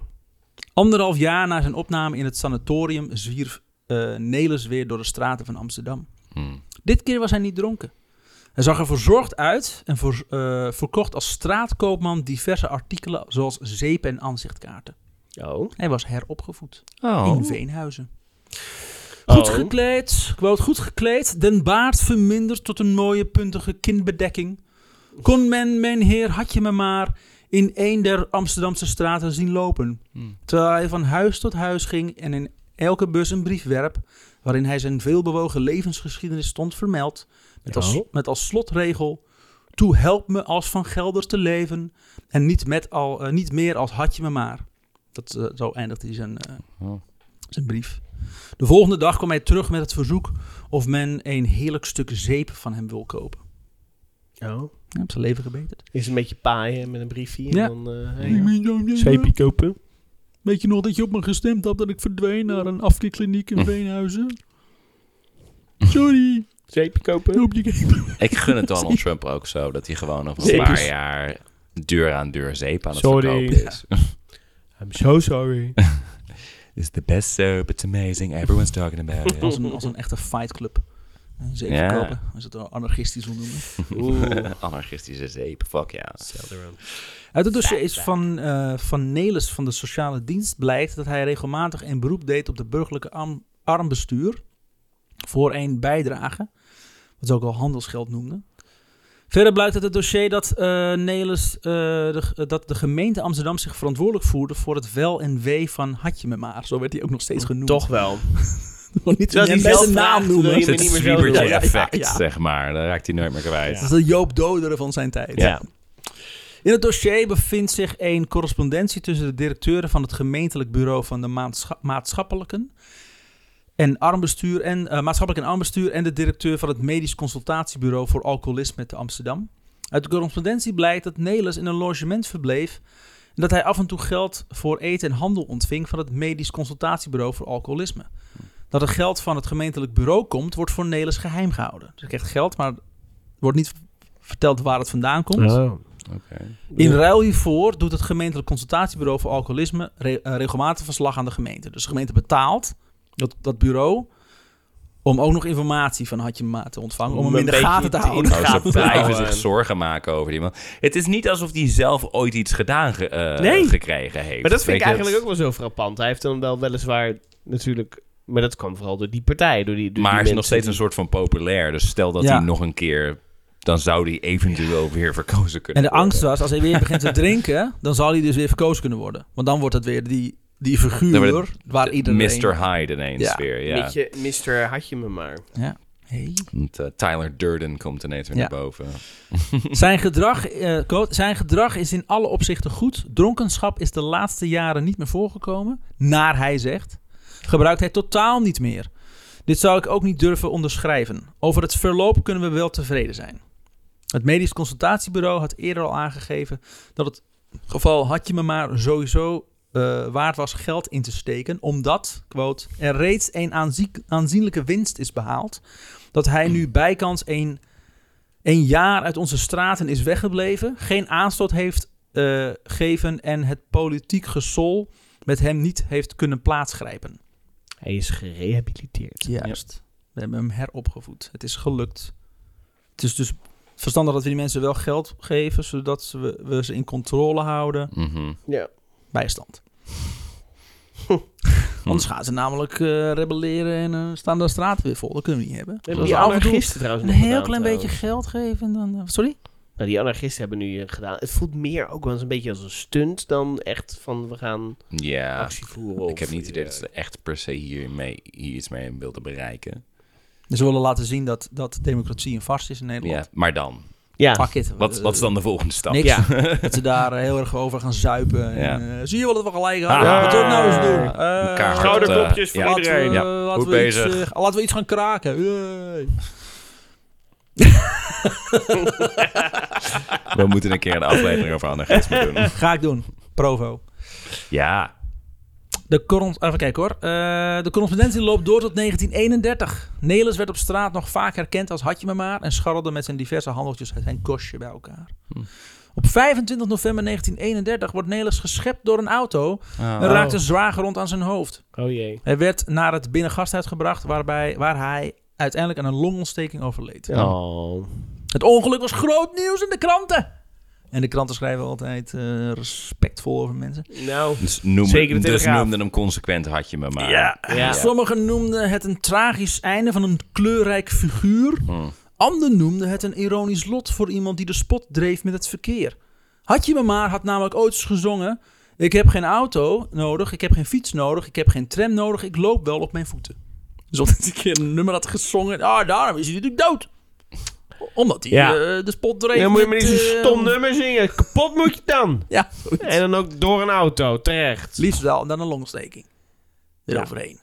Anderhalf jaar na zijn opname in het sanatorium zwierf eh, Nelis weer door de straten van Amsterdam. Hmm. Dit keer was hij niet dronken. Hij zag er verzorgd uit en voor, eh, verkocht als straatkoopman diverse artikelen zoals zeep en aanzichtkaarten. Oh. Hij was heropgevoed Oh. in Veenhuizen. Goed Oh. gekleed, quote, goed gekleed, den baard verminderd tot een mooie puntige kinbedekking. Kon men, mijn heer, had je me maar in een der Amsterdamse straten zien lopen. Hmm. Terwijl hij van huis tot huis ging en in elke bus een brief werp, waarin hij zijn veelbewogen levensgeschiedenis stond vermeld, met als, Ja. met als slotregel, toe help me als van Gelders te leven en niet, met al, eh, niet meer als had je me maar. Dat, eh, zo eindigt hij zijn, eh, Oh. zijn brief. De volgende dag kwam hij terug met het verzoek of men een heerlijk stuk zeep van hem wil kopen. Oh. Hij heeft zijn leven gebeterd. Is een beetje paaien met een briefje. En Ja. dan, eh, hey, Zeepie. kopen. Weet je nog dat je op me gestemd had dat ik verdween naar een afkikkliniek in Veenhuizen? Sorry. Zeepje kopen. Hulp je Ik gun het Donald Trump ook zo. Dat hij gewoon over een Zeep paar is- jaar deur aan deur zeep aan het Sorry. verkopen is. I'm so sorry. It's the best soap, it's amazing, everyone's talking about it. Als een, [LAUGHS] als een echte fightclub. Zeep Ja. verkopen. Als je het wel anarchistisch wil noemen. [LAUGHS] Oeh. [LAUGHS] Anarchistische zeep, fuck ja. Uit het dossier is van, eh, van Nelis van de Sociale Dienst blijkt dat hij regelmatig een beroep deed op de burgerlijke arm, armbestuur voor een bijdrage, wat ze ook al handelsgeld noemden. Verder blijkt uit het dossier dat, eh Nelis, eh, de, eh, dat de gemeente Amsterdam zich verantwoordelijk voerde voor het wel en wee van Hatje me maar. Zo werd hij ook nog steeds genoemd. Toch wel. Gewoon niet Terwijl hij niet eens zelf een vraagt, naam noemen. wil Dat je Het me is is het niet meer zo doen. Ja, ja, zwiebertje-effect, ja. zeg maar. Daar raakt hij nooit meer kwijt. de Joop Doderen van zijn tijd. Ja. In het dossier bevindt zich een correspondentie tussen de directeuren van het gemeentelijk bureau van de maatscha- maatschappelijken en armbestuur en eh, maatschappelijk en armbestuur en de directeur van het medisch consultatiebureau voor alcoholisme te Amsterdam. Uit de correspondentie blijkt dat Nelis in een logement verbleef en dat hij af en toe geld voor eten en handel ontving van het medisch consultatiebureau voor alcoholisme. Dat het geld van het gemeentelijk bureau komt, wordt voor Nelis geheim gehouden. Dus hij krijgt geld, maar wordt niet verteld waar het vandaan komt. In ruil hiervoor doet het gemeentelijk consultatiebureau voor alcoholisme re- eh, regelmatig verslag aan de gemeente. Dus de gemeente betaalt dat, dat bureau om ook nog informatie van Hadje Maat te ontvangen. Om, hem Om in een de gaten te beetje houden. te- Oh, ze Gaat blijven wel, zich eh. zorgen maken over die man. Het is niet alsof hij zelf ooit iets gedaan ge- eh, Nee. gekregen heeft. Maar dat vind Weet ik je, eigenlijk ook wel zo frappant. Hij heeft dan wel weliswaar natuurlijk... Maar dat kwam vooral door die partij. Door die, door Maar die hij is mensen nog steeds die- een soort van populair. Dus stel dat Ja. hij nog een keer... Dan zou hij eventueel weer verkozen En kunnen de worden. angst was, als hij weer begint te drinken, dan zal hij dus weer verkozen kunnen worden. Want dan wordt het weer die, die Dan wordt figuur waar iedereen... Mr. Hyde ineens Ja. weer. Ja. Beetje Mr. Had je me maar. Hey. Want, eh, Tyler Durden komt ineens weer Ja. naar boven. Zijn gedrag, eh, quote, zijn gedrag is in alle opzichten goed. Dronkenschap is de laatste jaren niet meer voorgekomen. Naar hij zegt. Gebruikt hij totaal niet meer. Dit zou ik ook niet durven onderschrijven. Over het verloop kunnen we wel tevreden zijn. Het medisch consultatiebureau had eerder al aangegeven dat het geval had je me maar sowieso eh, waard was geld in te steken, omdat, quote, er reeds een aanzie- aanzienlijke winst is behaald, dat hij nu bijkans een, een jaar uit onze straten is weggebleven, geen aanstoot heeft eh gegeven en het politiek gesol met hem niet heeft kunnen plaatsgrijpen. Hij is gerehabiliteerd. Juist. We hebben hem heropgevoed. Het is gelukt. Het is dus verstandig dat we die mensen wel geld geven, zodat ze- we, we ze in controle houden. Mhm. Ja. [LAUGHS] Bijstand. Anders gaan ze namelijk eh, rebelleren en eh, staan de straten weer vol. Dat kunnen we niet hebben. We hebben was die af en toe anarchisten trouwens Een nog heel gedaan, klein trouwens. beetje geld geven en dan... eh, sorry? Nou, die anarchisten hebben nu eh, gedaan. Het voelt meer ook wel eens een beetje als een stunt dan echt van we gaan Ja. actie voeren. of- Ik heb niet het idee dat eh, ze echt per se hier, mee, hier iets mee wilden bereiken. Dus we willen laten zien dat, dat democratie een vast is in Ja, Nederland. maar dan? Ja, Fuck it. Wat, wat is dan de volgende stap? Niks. Ja. [LAUGHS] Dat ze daar eh, heel erg over gaan zuipen. En, Ja. eh, zie je wel dat we gelijk Ah. hadden? Wat zullen we nou eens doen? Eh, Elkaar hard, Schouderklopjes eh, voor ja. laten we, Ja, laten, goed we iets, bezig. eh, laten we iets gaan kraken. Yay. We moeten een keer een aflevering over anarchisme [LAUGHS] doen. Ga ik doen. Provo. Ja. De corons- even kijken hoor. Eh, de correspondentie loopt door tot 1931. Nelis werd op straat nog vaak herkend als Hadje me maar en scharrelde met zijn diverse handeltjes zijn kostje bij elkaar. Op 25 november 1931 wordt Nelis geschept door een auto en raakte zwaar gerond aan zijn hoofd. Oh jee. Hij werd naar het binnengasthuis gebracht waarbij, waar hij uiteindelijk aan een longontsteking overleed. Oh. Het ongeluk was groot nieuws in de kranten. En de kranten schrijven altijd eh, respectvol over mensen. Nou. Dus, noem, Zeker de dus Telegraaf. noemde hem consequent, had je me maar. Ja. Ja. Sommigen noemden het een tragisch einde van een kleurrijk figuur. Hm. Hmm. Anderen noemden het een ironisch lot voor iemand die de spot dreef met het verkeer. Had je me maar had namelijk ooit eens gezongen: Ik heb geen auto nodig, ik heb geen fiets nodig, ik heb geen tram nodig, ik loop wel op mijn voeten. Dus omdat hij een keer een nummer had gezongen, ah, daarom is hij natuurlijk dood. Omdat hij Ja. eh, de spot dreef. Dan moet je maar met, niet zo'n eh, stom nummer zingen. Kapot moet je dan. [LAUGHS] Ja, En dan ook door een auto, terecht. liefst wel, en dan een longsteking. Eroverheen.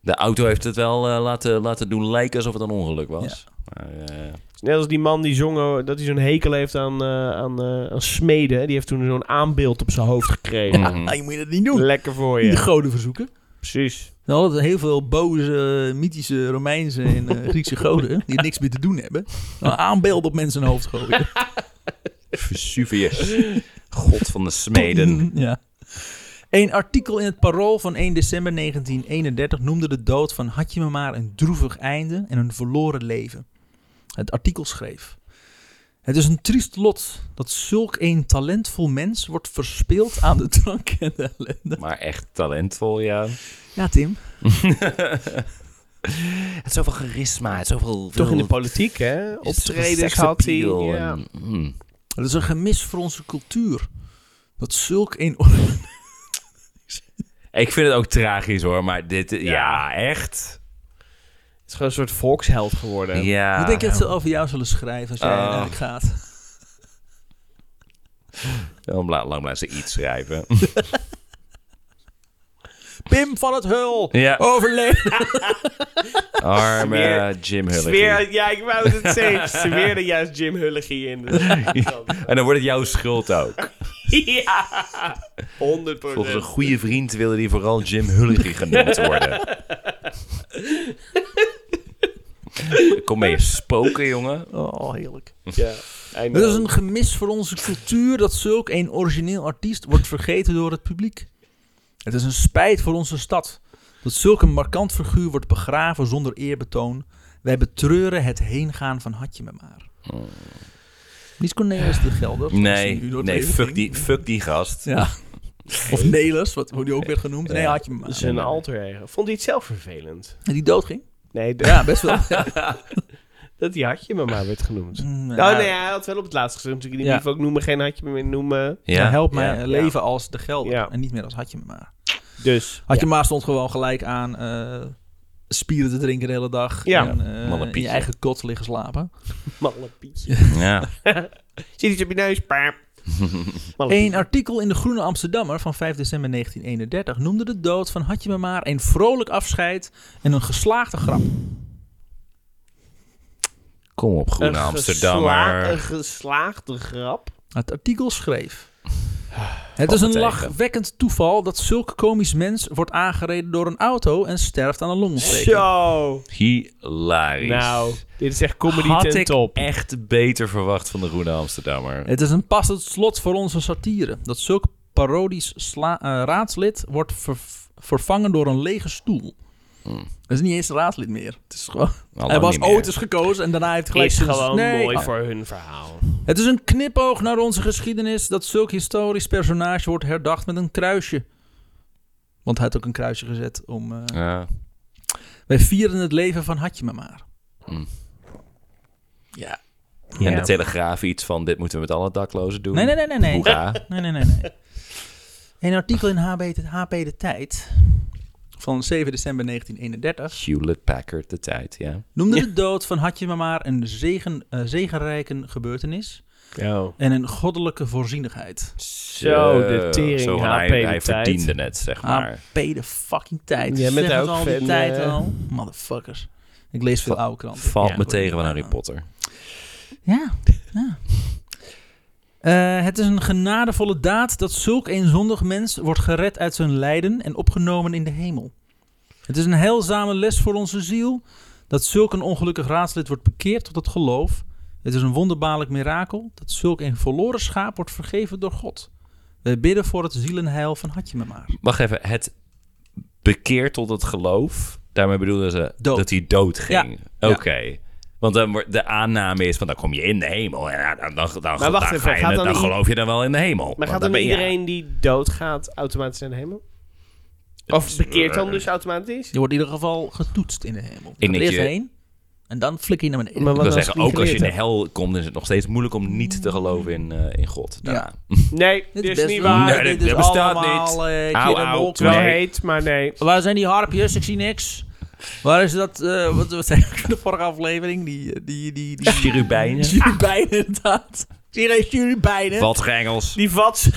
De auto heeft het wel eh, laten, laten doen lijken alsof het een ongeluk was. Maar, eh, Net als die man die zong oh, dat hij zo'n hekel heeft aan, eh, aan, eh, aan smeden. Die heeft toen zo'n aanbeeld op zijn hoofd gekregen. mhm. Nou, je moet je dat niet doen. Lekker voor Niet de je. goden verzoeken. Precies. Nou, hadden heel veel boze, mythische Romeinse en eh, Griekse goden die niks meer te doen hebben. Nou, aanbeelden op mensen hun hoofd gooien. [LAUGHS] Vesuvius. God van de smeden. Ja. Een artikel in het Parool van 1 december 1931 noemde de dood van Hadje me maar een droevig einde en een verloren leven. Het artikel schreef... Het is een triest lot dat zulk een talentvol mens wordt verspeeld aan de drank en de ellende. [LAUGHS] Maar echt talentvol, ja. Ja, Tim. Het is zoveel charisma, het is zoveel... Toch in de veel- politiek, hè? Optredens zoveel had hij. seksappeal ja. en- mm. Dat is een gemis voor onze cultuur. Dat zulk een... Ik vind het ook tragisch hoor, maar dit... Ja, echt? Het is gewoon een soort volksheld geworden. Ja. ik denk dat ze over jou zullen schrijven als jij Ah, nou. Oh. uiteindelijk gaat. Lang bla- lang blijven ze [LAUGHS] iets schrijven. Pim van het Hul, ja. overleden. Arme Smeer- Jim Hulligie. Sfeer, ja, ik wou het zeggen. Ze weerden juist Jim Hulligie in. dus En dan wordt het jouw schuld ook. ja, 100 Volgens een goede vriend wilde die vooral Jim Hulligie genoemd worden. [LAUGHS] Kom mee spoken, jongen. Oh, heerlijk. Ja, I Het know. is een gemis voor onze cultuur dat zulk een origineel artiest wordt vergeten door het publiek. Het is een spijt voor onze stad dat zulk een markant figuur wordt begraven zonder eerbetoon. Wij betreuren het heengaan van Hatje me maar. Oh. Niet Cornelis de Gelder. Nee, die nu door het nee leven fuck, ging. die, fuck die gast. Ja. Of Nelis, wat hoe die ook werd genoemd. Nee, Ja. Hatje me maar. Zijn alter ego. Vond hij het zelf vervelend? En die doodging? Nee, d- Ja, best wel. Ja. dat die had je me maar werd genoemd. Mm, [LAUGHS] Oh ja. nee, hij had wel op het laatste gezegd. Natuurlijk in Ja. ieder geval ook noemen, geen had je me meer noemen. Ja, Ja, help ja. mij eh, leven als de Gelder Ja. en niet meer als Hatje me maar. Dus. Had je maar stond gewoon gelijk aan eh, spieren te drinken de hele dag. Ja. En, eh, Malle in je Pietje. eigen kot liggen slapen. Malle Pietje. Ja. Zit iets op je neus? Paap. Malle Een artikel in de Groene Amsterdammer van 5 december 1931 noemde de dood van Hadje me maar een vrolijk afscheid en een geslaagde grap. Kom op, Groene Een gesla- Een Amsterdammer. geslaagde grap. Het artikel schreef. Het is een tegen. lachwekkend toeval dat zulk komisch mens wordt aangereden door een auto en sterft aan een longontsteking. Zo. Hilarisch. Nou, dit is echt comedy Had ten ik top. echt beter verwacht van de Groene Amsterdammer. Het is een passend slot voor onze satire. Dat zulk parodisch sla- eh, raadslid wordt ver- vervangen door een lege stoel. Dat is niet eens een raadslid meer. Het is gewoon... Hmm. Hij Al lang was niet meer. ooit eens gekozen en daarna heeft hij gelijk... Is sinds- gewoon Nee, mooi ah. voor hun verhaal. Het is een knipoog naar onze geschiedenis dat zulk historisch personage wordt herdacht met een kruisje. Want hij had ook een kruisje gezet om... eh, Ja. Wij vieren het leven van Hatje me maar. Mm. Ja. En de Telegraaf iets van, dit moeten we met alle daklozen doen. Nee, nee, nee, nee, nee. Hoera. Nee, nee, nee, nee. Een artikel in HB de, HP De Tijd van 7 december 1931 Hewlett Packard de tijd, ja. noemde de dood van Hatje me maar een zegen, eh, zegenrijke gebeurtenis Oh. Zo. en een goddelijke voorzienigheid. Zo, de tering Zo, HP hij, de hij tijd. verdiende het, zeg maar. HP de fucking tijd. Jij bent Zeg het ook al die fan, tijd eh. al. Motherfuckers. Ik lees veel oude kranten. Valt Ja. me tegen van Harry Potter. Ja, ja. Eh, het is een genadevolle daad dat zulk een zondig mens wordt gered uit zijn lijden en opgenomen in de hemel. Het is een heilzame les voor onze ziel dat zulk een ongelukkig raadslid wordt bekeerd tot het geloof. Het is een wonderbaarlijk mirakel dat zulk een verloren schaap wordt vergeven door God. Wij bidden voor het zielenheil van Hatje me maar. Wacht even, het bekeert tot het geloof. Daarmee bedoelden ze Dood. dat hij dood ging. Ja. Oké. Want dan wordt de aanname is van dan kom je in de hemel. En dan, dan, dan, dan, wacht ga even, je- gaat dan dan i- geloof je dan wel in de hemel. Maar Want gaat dan ben dan je- iedereen die doodgaat automatisch naar de hemel? Of bekeert eh, dan dus automatisch? Je wordt in ieder geval getoetst in de hemel. Ik denk eerst je- heen en dan flik je naar beneden. Maar Ik wat wil als zeggen, je niet ook als je in de geleerd hel komt, is het nog steeds moeilijk om niet te geloven in, eh, in God. Ja. Ja. hebt? Nee, Dit dit is is best niet wel- waar. Nee, dat- dat bestaat allemaal, eh, Au, kip en au, wolk. Het is wel Nee. heet, maar nee. Waar zijn die harpjes? Ik zie niks. Waar is dat? eh, wat, wat zei ik in de vorige aflevering? Die, eh, die, die, [LAUGHS] die, [LAUGHS] Cherubijnen. Cherubijnen, inderdaad. Ik Zie je cherubijnen? Wat Engels. Die [LAUGHS] vats.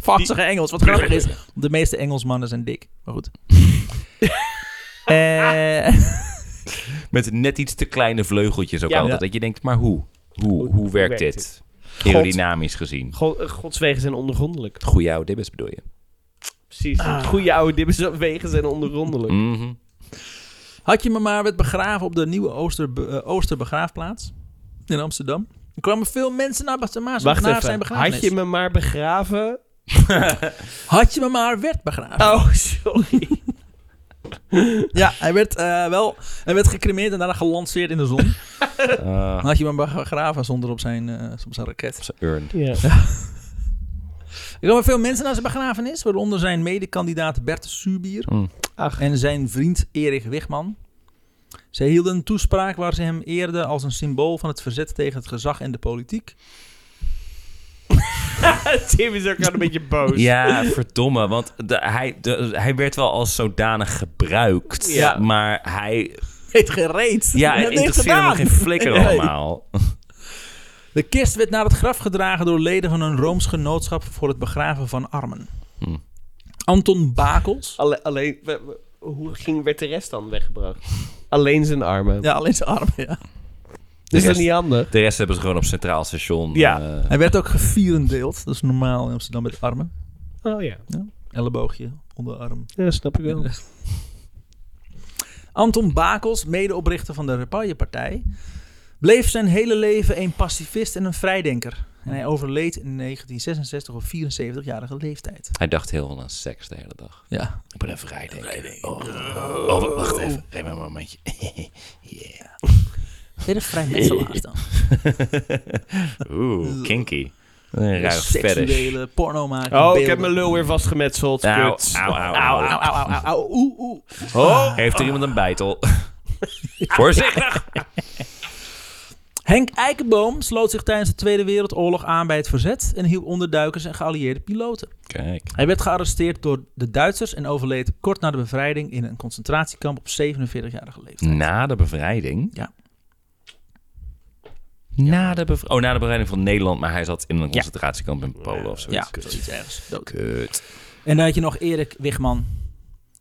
Vatsige Engels. Wat grappig is, de meeste Engelsmannen zijn dik. Maar goed. [LAUGHS] Eh, Met net iets te kleine vleugeltjes ook Ja. altijd. Ja. Dat je denkt, maar hoe? Hoe, hoe, werkt werkt dit? Aerodynamisch gezien. God, eh, Gods wegen zijn ondergrondelijk. Goeie oude dibbes bedoel je? Precies. Goede oude dibbes wegen zijn ondergrondelijk. Mhm. had je me maar werd begraven op de nieuwe Ooster, eh, Oosterbegraafplaats in Amsterdam. Er kwamen veel mensen naar Bas de Maas Wacht naar zijn even. begrafenis. Had je me maar begraven? Had je me maar werd begraven. Oh, [LAUGHS] sorry. Ja, hij werd eh, wel hij werd gecremeerd en daarna gelanceerd in de zon. Ah, [LAUGHS] Dan had je hem begraven zonder op zijn, eh, op zijn raket. zijn urn. Ja. Er komen veel mensen naar zijn begrafenis, waaronder zijn medekandidaat Bert Subier Hmm. Ach. en zijn vriend Erik Wigman. Zij hielden een toespraak waar ze hem eerden als een symbool van het verzet tegen het gezag en de politiek. [LAUGHS] Tim is ook al een beetje boos. Ja, verdomme. Want de, hij, de, hij werd wel als zodanig gebruikt. Ja. Maar hij... Heet gereed. Ja, het interesseerde me geen flikker Nee. allemaal. De kist werd naar het graf gedragen door leden van een Rooms genootschap voor het begraven van armen. Hmm. Anton Bakels. Alle- alleen, we- we- hoe ging, werd de rest dan weggebracht? Alleen zijn armen. Ja, alleen zijn arm, ja. Is dat Yes. niet handig? De rest hebben ze gewoon op Centraal Station. Ja. eh, Hij werd ook gevierendeeld. Dat is normaal in Amsterdam met armen. Oh ja. Elleboogje, onderarm. Ja, snap ik wel. Anton Bakels, medeoprichter van de Repaille-partij, bleef zijn hele leven een pacifist en een vrijdenker. En hij overleed in 1966 op 74-jarige leeftijd. hij dacht heel veel aan seks de hele dag. Ja. Ik ben een vrijdenker. Oh, oh, wa- wacht even. Geef me een momentje. Weer een vrijmetselaars dan. Oeh, kinky. Een [LAUGHS] ruig fetish. Seksuele porno maken. Oh, ik beelden. heb mijn lul weer vastgemetseld. Au, Kut. Nou, au, au, Au, au, au, au, au, au, oeh, oeh. Oh, heeft er iemand een [LAUGHS] bijtel? Voorzichtig! Henk Eikenboom sloot zich tijdens de Tweede Wereldoorlog aan bij het verzet en hielp onderduikers en geallieerde piloten. Kijk. Hij werd gearresteerd door de Duitsers en overleed kort na de bevrijding in een concentratiekamp op 47-jarige leeftijd. Na de bevrijding? Ja. Na de bev- oh, na de bevrijding van Nederland, maar hij zat in een concentratiekamp in Polen of Ja, zoiets. zoiets ergens. Dood. Kut. En dan had je nog Erik Wigman.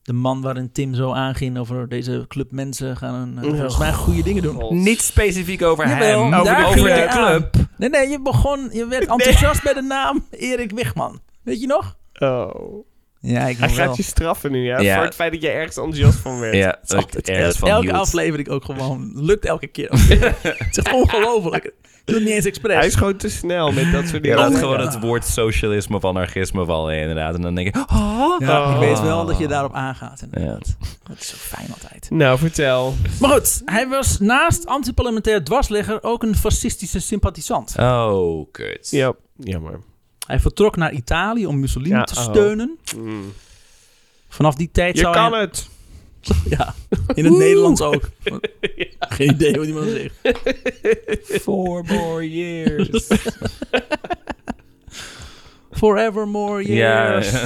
De man waarin Tim zo aanging over deze club mensen gaan eh, volgens mij goede dingen doen. Niet specifiek over Jawel, hem, daar over, ging over hij de aan. club. Nee, nee, je begon, je werd enthousiast bij de naam Erik Wigman. Weet je nog? Oh. Ja, ik Hij nog wel. gaat je straffen nu, ja? Ja. Voor het feit dat je ergens enthousiast van werd. Ja, dat ik ergens van elke hield. aflevering ook gewoon. Lukt elke keer. [LAUGHS] het is echt ongelooflijk. Ik doe het niet eens expres. Hij is gewoon te snel met dat soort Je dingen. laat Ja. gewoon het woord socialisme of anarchisme vallen inderdaad. En dan denk ik... Ja, Oh. Ik weet wel dat je daarop aangaat. En Ja. Dat is zo fijn altijd. [LAUGHS] Nou, vertel. Maar goed, hij was naast antiparlementair dwarsligger ook een fascistische sympathisant. Oh, kut. Ja, jammer. Hij vertrok naar Italië om Mussolini Ja, te oh. steunen. Mm. Vanaf die tijd Je zou kan hij... het! Ja, in het Nederlands ook. Geen idee wat iemand zegt. Four more years. Forevermore Ja, [LAUGHS] years.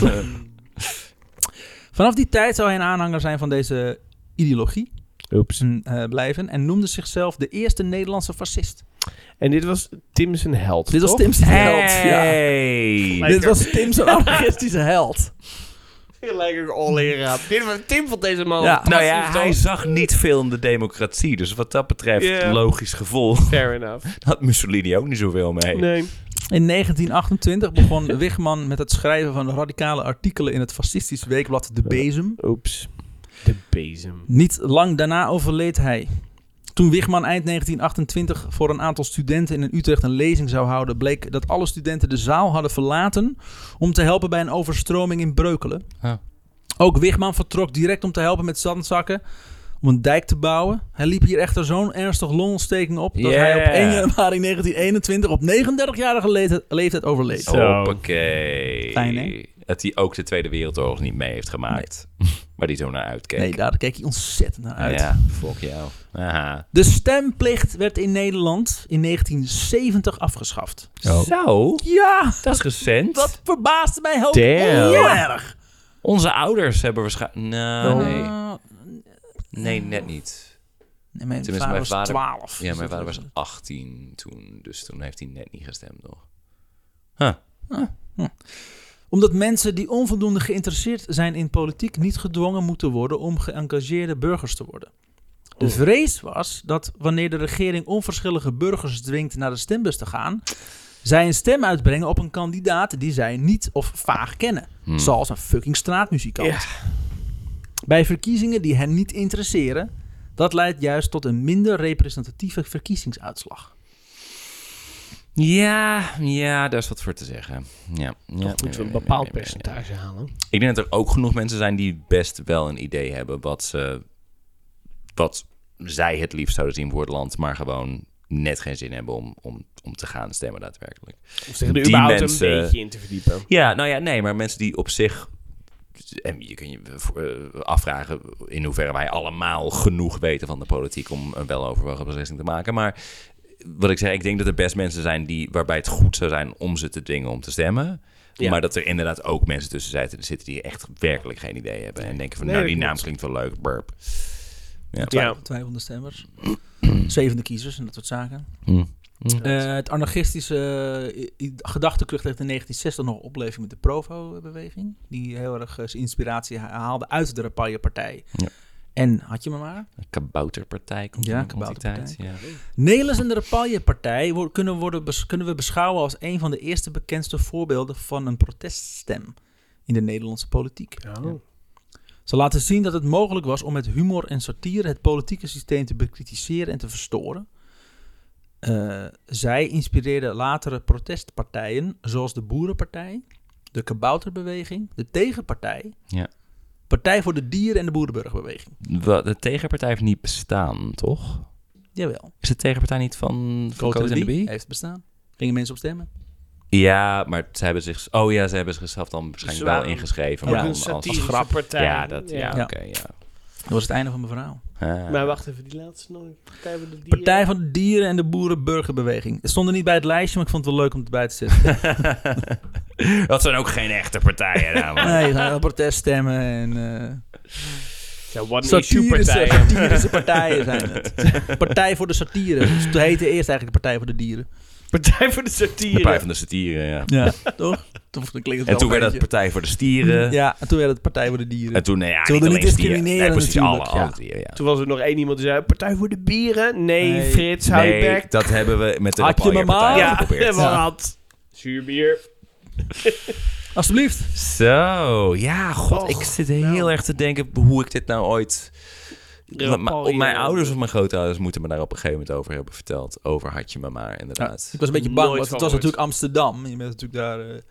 Vanaf die tijd zou hij een aanhanger zijn van deze ideologie Oeps. eh, blijven. En noemde zichzelf de eerste Nederlandse fascist. En dit was Tim zijn held, Dit was toch? Tim's held. Ja. Hey. Dit was Tim's anarchistische held. Gelijk ook all in raad. Dit was Tim van deze man. Ja. Nou ja, Fantastisch, hij toch? zag niet veel in de democratie. Dus wat dat betreft, Ja. logisch gevolg, Fair enough. [LAUGHS] had Mussolini ook niet zoveel mee. Nee. In 1928 [LAUGHS] begon Wigman met het schrijven van radicale artikelen in het fascistische weekblad De Bezem. Oeps. De bezem. Niet lang daarna overleed hij. Toen Wigman eind 1928 voor een aantal studenten in Utrecht een lezing zou houden, bleek dat alle studenten de zaal hadden verlaten om te helpen bij een overstroming in Breukelen. Ja. Ook Wigman vertrok direct om te helpen met zandzakken om een dijk te bouwen. Hij liep hier echter zo'n ernstig longontsteking op dat hij op Yeah. 1 januari 1921 op 39-jarige leeftijd- leeftijd overleed. Zo. Hoppakee. Fijn, hè? Dat hij ook de Tweede Wereldoorlog niet mee heeft gemaakt. [LAUGHS] Waar hij zo naar uitkeek. Nee, daar keek hij ontzettend naar uit. Ja, fuck jou. Aha. De stemplicht werd in Nederland in 1970 afgeschaft. Zo, Ja, dat is recent. dat verbaasde mij heel Damn. heel erg. Onze ouders hebben waarschijnlijk... Oh. Nou, nee. Eh, Nee, net niet. nee, mijn Tenminste, vader mijn was vader- 12. Ja, dus mijn dat vader was 18 toen. Dus toen heeft hij net niet gestemd nog. Huh. Omdat mensen die onvoldoende geïnteresseerd zijn in politiek niet gedwongen moeten worden om geëngageerde burgers te worden. Oh. De vrees was dat wanneer de regering onverschillige burgers dwingt naar de stembus te gaan, zij een stem uitbrengen op een kandidaat die zij niet of vaag kennen. Hmm. Zoals een fucking straatmuzikant. Ja. Bij verkiezingen die hen niet interesseren, dat leidt juist tot een minder representatieve verkiezingsuitslag. Ja, ja, daar is wat voor te zeggen. Ja, ja, Of moeten we nee, een nee, bepaald nee, nee, nee. percentage halen? Ik denk dat er ook genoeg mensen zijn die best wel een idee hebben wat ze, wat zij het liefst zouden zien voor het land, maar gewoon net geen zin hebben om, om, om te gaan stemmen daadwerkelijk. Of zich er Die überhaupt mensen- een beetje in te verdiepen. Ja, nou ja, nee, maar mensen die op zich. En je kunt je eh, afvragen in hoeverre wij allemaal genoeg weten van de politiek om een weloverwogen beslissing te maken. Maar wat ik zeg, ik denk dat er best mensen zijn die, waarbij het goed zou zijn om ze te dwingen om te stemmen. Ja. Maar dat er inderdaad ook mensen tussen zitten- zitten die echt werkelijk geen idee hebben. En denken van, Nee, nou, dat die naam klopt. klinkt wel leuk, burp. Ja. Ja. Twijfelende stemmers. Zevende kiezers en dat soort zaken. Hm. Eh, het anarchistische eh, i- gedachtenkrucht heeft in 1960 nog opbeleving met de Provo-beweging. Die heel erg eh, zijn inspiratie ha- haalde uit de Rapaille-partij. Ja. En had je me maar. Een kabouterpartij komt Ja, er ook al die kabouterpartij. tijd, Ja. Nelis en de Rapaille-partij wo- kunnen, worden bes- kunnen we beschouwen als een van de eerste bekendste voorbeelden van een proteststem in de Nederlandse politiek. Oh. Ze laten zien dat het mogelijk was om met humor en satire het politieke systeem te bekritiseren en te verstoren. Eh, zij inspireerden latere protestpartijen, zoals de Boerenpartij, de Kabouterbeweging, de Tegenpartij, Ja. Partij voor de Dieren en de Boerenburgerbeweging. Wat- De tegenpartij heeft niet bestaan, toch? Jawel. Is de tegenpartij niet van, van Coat en de Bie? heeft bestaan. Gingen mensen op stemmen? Ja, maar ze hebben zich... Oh ja, ze hebben zichzelf dan waarschijnlijk Ze wel waren- ingeschreven. Ja. maar Een dan als, satirische grap. partij. Ja, dat, ja, Ja. oké, ja. Dat was het einde van mijn verhaal. Ah. Maar wacht even, die laatste nog. Partij van de Dieren. Partij van de Dieren en de Boerenburgerbeweging. Het stond er niet bij het lijstje, maar ik vond het wel leuk om het bij te [LAUGHS] zetten. [LAUGHS] dat zijn ook geen echte partijen nou, namelijk. [LAUGHS] nee, ze gaan proteststemmen en... eh, Ja, one issue Satirische, partijen. satirische partijen zijn [LAUGHS] het. Partij voor de satire. Dus het heette eerst eigenlijk de Partij voor de Dieren. Partij voor de Satire. De Partij van de Satire, ja. Ja, toch? Toen klinkt het En toen wel werd een dat Partij eh, voor de Stieren. beetje. Ja, en toen werd het Partij voor de Dieren. En toen, nee, ja, Ze niet wilden alleen niet stieren. Nee, discrimineren precies, alle, natuurlijk, ja. alle dieren, ja. Toen was er nog één iemand die zei, Partij voor de Bieren? Nee, Nee. Frits, hou je Nee, bek. dat hebben we met de Had je me Rapalje maar. partij Ja, geprobeerd. Ja. [LAUGHS] wat. Zuurbier. Alsjeblieft. Zo, ja, god, Och, nou. ik zit heel erg te denken hoe ik dit nou ooit... Ja, Ma- Paul, mijn ja. ouders of mijn grootouders moeten me daar op een gegeven moment over hebben verteld. Over had je me maar, inderdaad. Ik was een beetje bang, Nooit want het van was gehoord. natuurlijk Amsterdam. Je bent natuurlijk daar... eh,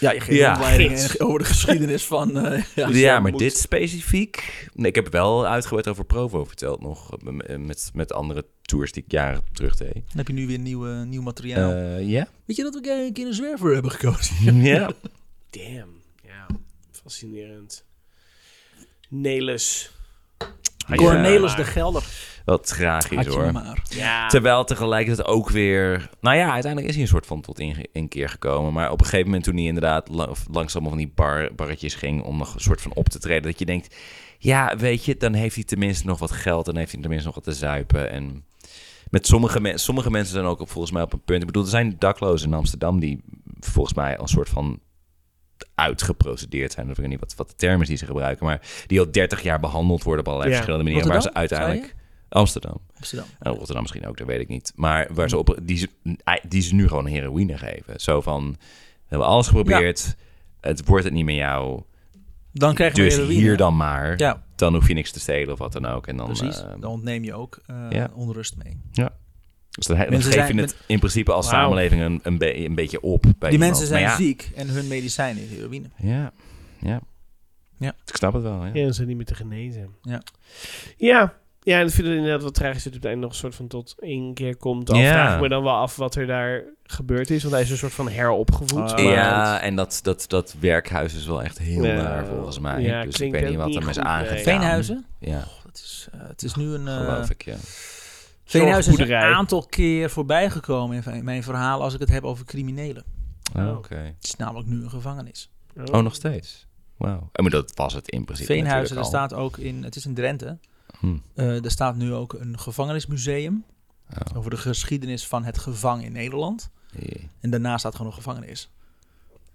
ja, je geeft Ja, opleidingen [LAUGHS] gids. over de geschiedenis van... eh, ja. Ja, maar moet. dit specifiek... Nee, ik heb wel uitgebreid over Provo verteld nog. eh, m- Met, met andere tours die ik jaren terug deed. Dan heb je nu weer nieuw, eh, nieuw materiaal. Eh, Ja? Weet je dat we een keer een zwerver hebben gekozen? [LAUGHS] Ja. Damn. Ja, fascinerend. Nelis. Ja. Cornelis de Gelder. Wat tragisch Had je me hoor. maar. Ja. Terwijl tegelijkertijd ook weer... Nou ja, uiteindelijk is hij een soort van tot in, in keer gekomen. Maar op een gegeven moment toen hij inderdaad la- of langs allemaal van die bar, barretjes ging... om nog een soort van op te treden. Dat je denkt, ja, weet je, dan heeft hij tenminste nog wat geld... en heeft hij tenminste nog wat te zuipen. En met sommige, men- sommige mensen zijn ook op, volgens mij op een punt... Ik bedoel, er zijn daklozen in Amsterdam die volgens mij als soort van uitgeprocedeerd zijn. Of ik weet niet wat, wat de term is die ze gebruiken. Maar die al 30 jaar behandeld worden op allerlei Ja. verschillende manieren. Rotterdam, waar ze zei je? uiteindelijk... Amsterdam. Amsterdam. En Rotterdam misschien ook, Nou, dat weet ik niet. Maar waar ze op, die, ze, die ze nu gewoon heroïne geven. Zo van, we hebben alles geprobeerd. Het wordt het niet met jou. Dan krijg je Dus heroïne. hier dan maar. Ja, Dan hoef je niks te stelen of wat dan ook. En dan, precies. eh, Dan ontneem je ook eh, ja. onrust mee. dus dan, dan Mensen geef zijn je het in principe als Wauw. samenleving een, een, be- een beetje op. Die Bij iemand. mensen Maar zijn ziek en hun medicijn is heroïne. ja, ja, ja. Ja. Ik snap het wel. Ja. Ja, ze zijn niet meer te genezen. Ja. Ja. Ja, en ik vind het inderdaad wat tragisch dat het op het einde nog een soort van tot één keer komt. Al Ja. vraag ik me dan wel af wat er daar gebeurd is. Want hij is een soort van heropgevoed. Ah. maar- Ja, en dat, dat, dat werkhuis is wel echt heel Ja. naar volgens mij. Ja, dus ik klinkt weet niet ook wat niet hem is goed, nee. aangedaan. eh, Veenhuizen? Ja, Oh, dat is, eh, het is nu een... eh, geloof ik, ja. Veenhuizen is een Zorgboerderij. aantal keer voorbijgekomen in v- mijn verhaal als ik het heb over criminelen. Oh. Ah, Oké. Het is namelijk nu een gevangenis. Oh, nog steeds? Wauw. Eh, Maar dat was het in principe Veenhuizen, daar natuurlijk al. staat ook in... Het is in Drenthe. Hm. Eh er staat nu ook een gevangenismuseum Oh, over de geschiedenis van het gevang in Nederland. jee. En daarnaast staat gewoon een gevangenis.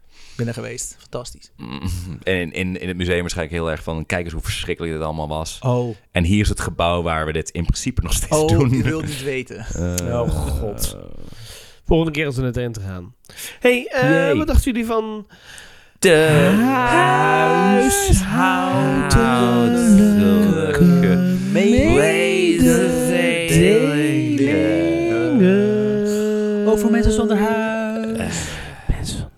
Ik ben er geweest. Fantastisch. Mm. En in, in, in het museum waarschijnlijk heel erg van... kijk eens hoe verschrikkelijk dit allemaal was. Oh, En hier is het gebouw waar we dit in principe nog steeds oh doen. je wilt niet [LAUGHS] weten. Eh, Nou, Oh, god. Volgende keer als we naar Drenthe gaan. hey, eh, Jee. wat dachten jullie van... De huishoudelijke Ook voor mensen zonder huis. Oh, Mensen zonder huis.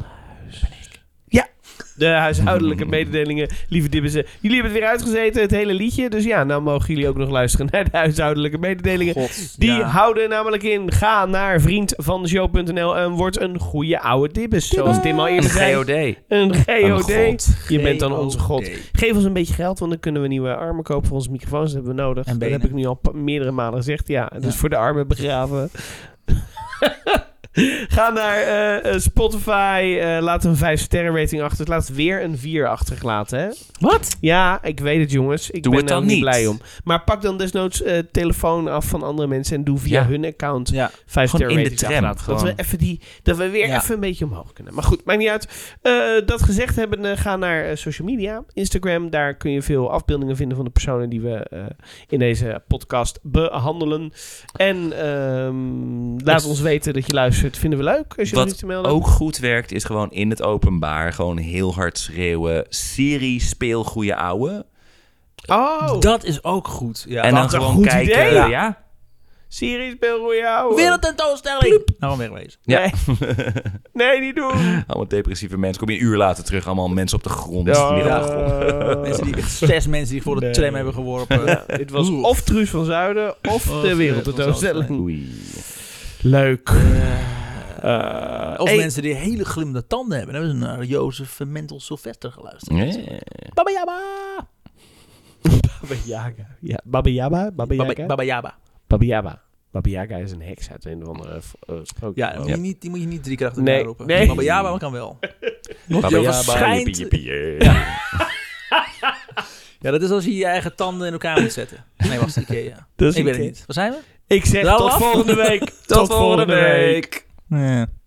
de huishoudelijke mededelingen. Lieve dibbissen, jullie hebben het weer uitgezeten, het hele liedje. Dus ja, nou mogen jullie ook nog luisteren naar de huishoudelijke mededelingen. God, Die ja. houden namelijk in. Ga naar vriendvandeshow.nl en word een goede oude dibbes. Zoals Tim al eerder zei. GOD. Een Een Oh, GOD. god. Je bent dan GOD. onze god. Geef ons een beetje geld, want dan kunnen we nieuwe armen kopen voor onze microfoons. Dat hebben we nodig. En dat benen. heb ik nu al pa- meerdere malen gezegd. Ja, dus Ja. voor de armen begraven. [LAUGHS] Ga naar eh, eh, Spotify. eh, laat een 5 sterren rating achter. Laat weer een 4 achtergelaten. Hè? Wat? Ja, ik weet het jongens. Ik Doe ben het dan er niet niet. blij om. Maar pak dan desnoods eh, telefoon af van andere mensen en doe via Ja. hun account Ja. vijf Gewoon sterren in de ratings tram, achterlaten. Dat gewoon. we, even die, dat we weer Ja. even een beetje omhoog kunnen. Maar goed, maakt niet uit. Eh, dat gezegd hebben, eh, ga naar eh, social media. Instagram, daar kun je veel afbeeldingen vinden van de personen die we eh, in deze podcast behandelen. En ehm, laat Is- ons weten dat je luistert. Vinden we leuk als je Wat ons iets te melden. Ook goed werkt is gewoon in het openbaar gewoon heel hard schreeuwen. Siri, speel goede ouwe. Oh, Dat is ook goed. Ja. en dan een gewoon goed kijken. idee. Ja. ja. Siri speel voor jou. Wereldtentoonstelling! Nou, wegwezen. Nee. nee, niet doen. Allemaal depressieve mensen. Kom je een uur later terug. Allemaal mensen op de grond. Ja. Liggen op de grond. Mensen die, zes mensen die voor de Nee. tram hebben geworpen. Ja, [LAUGHS] dit was Oeh. of Truus van Zuiden of Of de de wereldtentoonstelling. Wereldtentoonstelling. [LAUGHS] Oei. Leuk. Eh, Of mensen die hele glimmende tanden hebben. Dan hebben ze naar Jozef Mentel Sylvester geluisterd. Nee. Baba Yaba! Baba Yaga. Ja, Baba Yaga. Baba, Baba Yaga. Baba Yaba. Baba Yaga. Baba Yaga is een heks uit een of andere eh, sprookje. Ja, die moet, je niet, die moet je niet drie keer achter Nee. elkaar roepen. Nee. Baba Yaba kan wel. Baba Ja, Yaba, waarschijnlijk- jippie, jippie, jee. Ja, dat is als je je eigen tanden in elkaar moet zetten. Nee, was het Ikea. Dat is ik weet het Ikea. niet. Waar zijn we? Ik Dus zeg Nou, [LAUGHS] tot af. volgende week. Tot volgende week. Nee.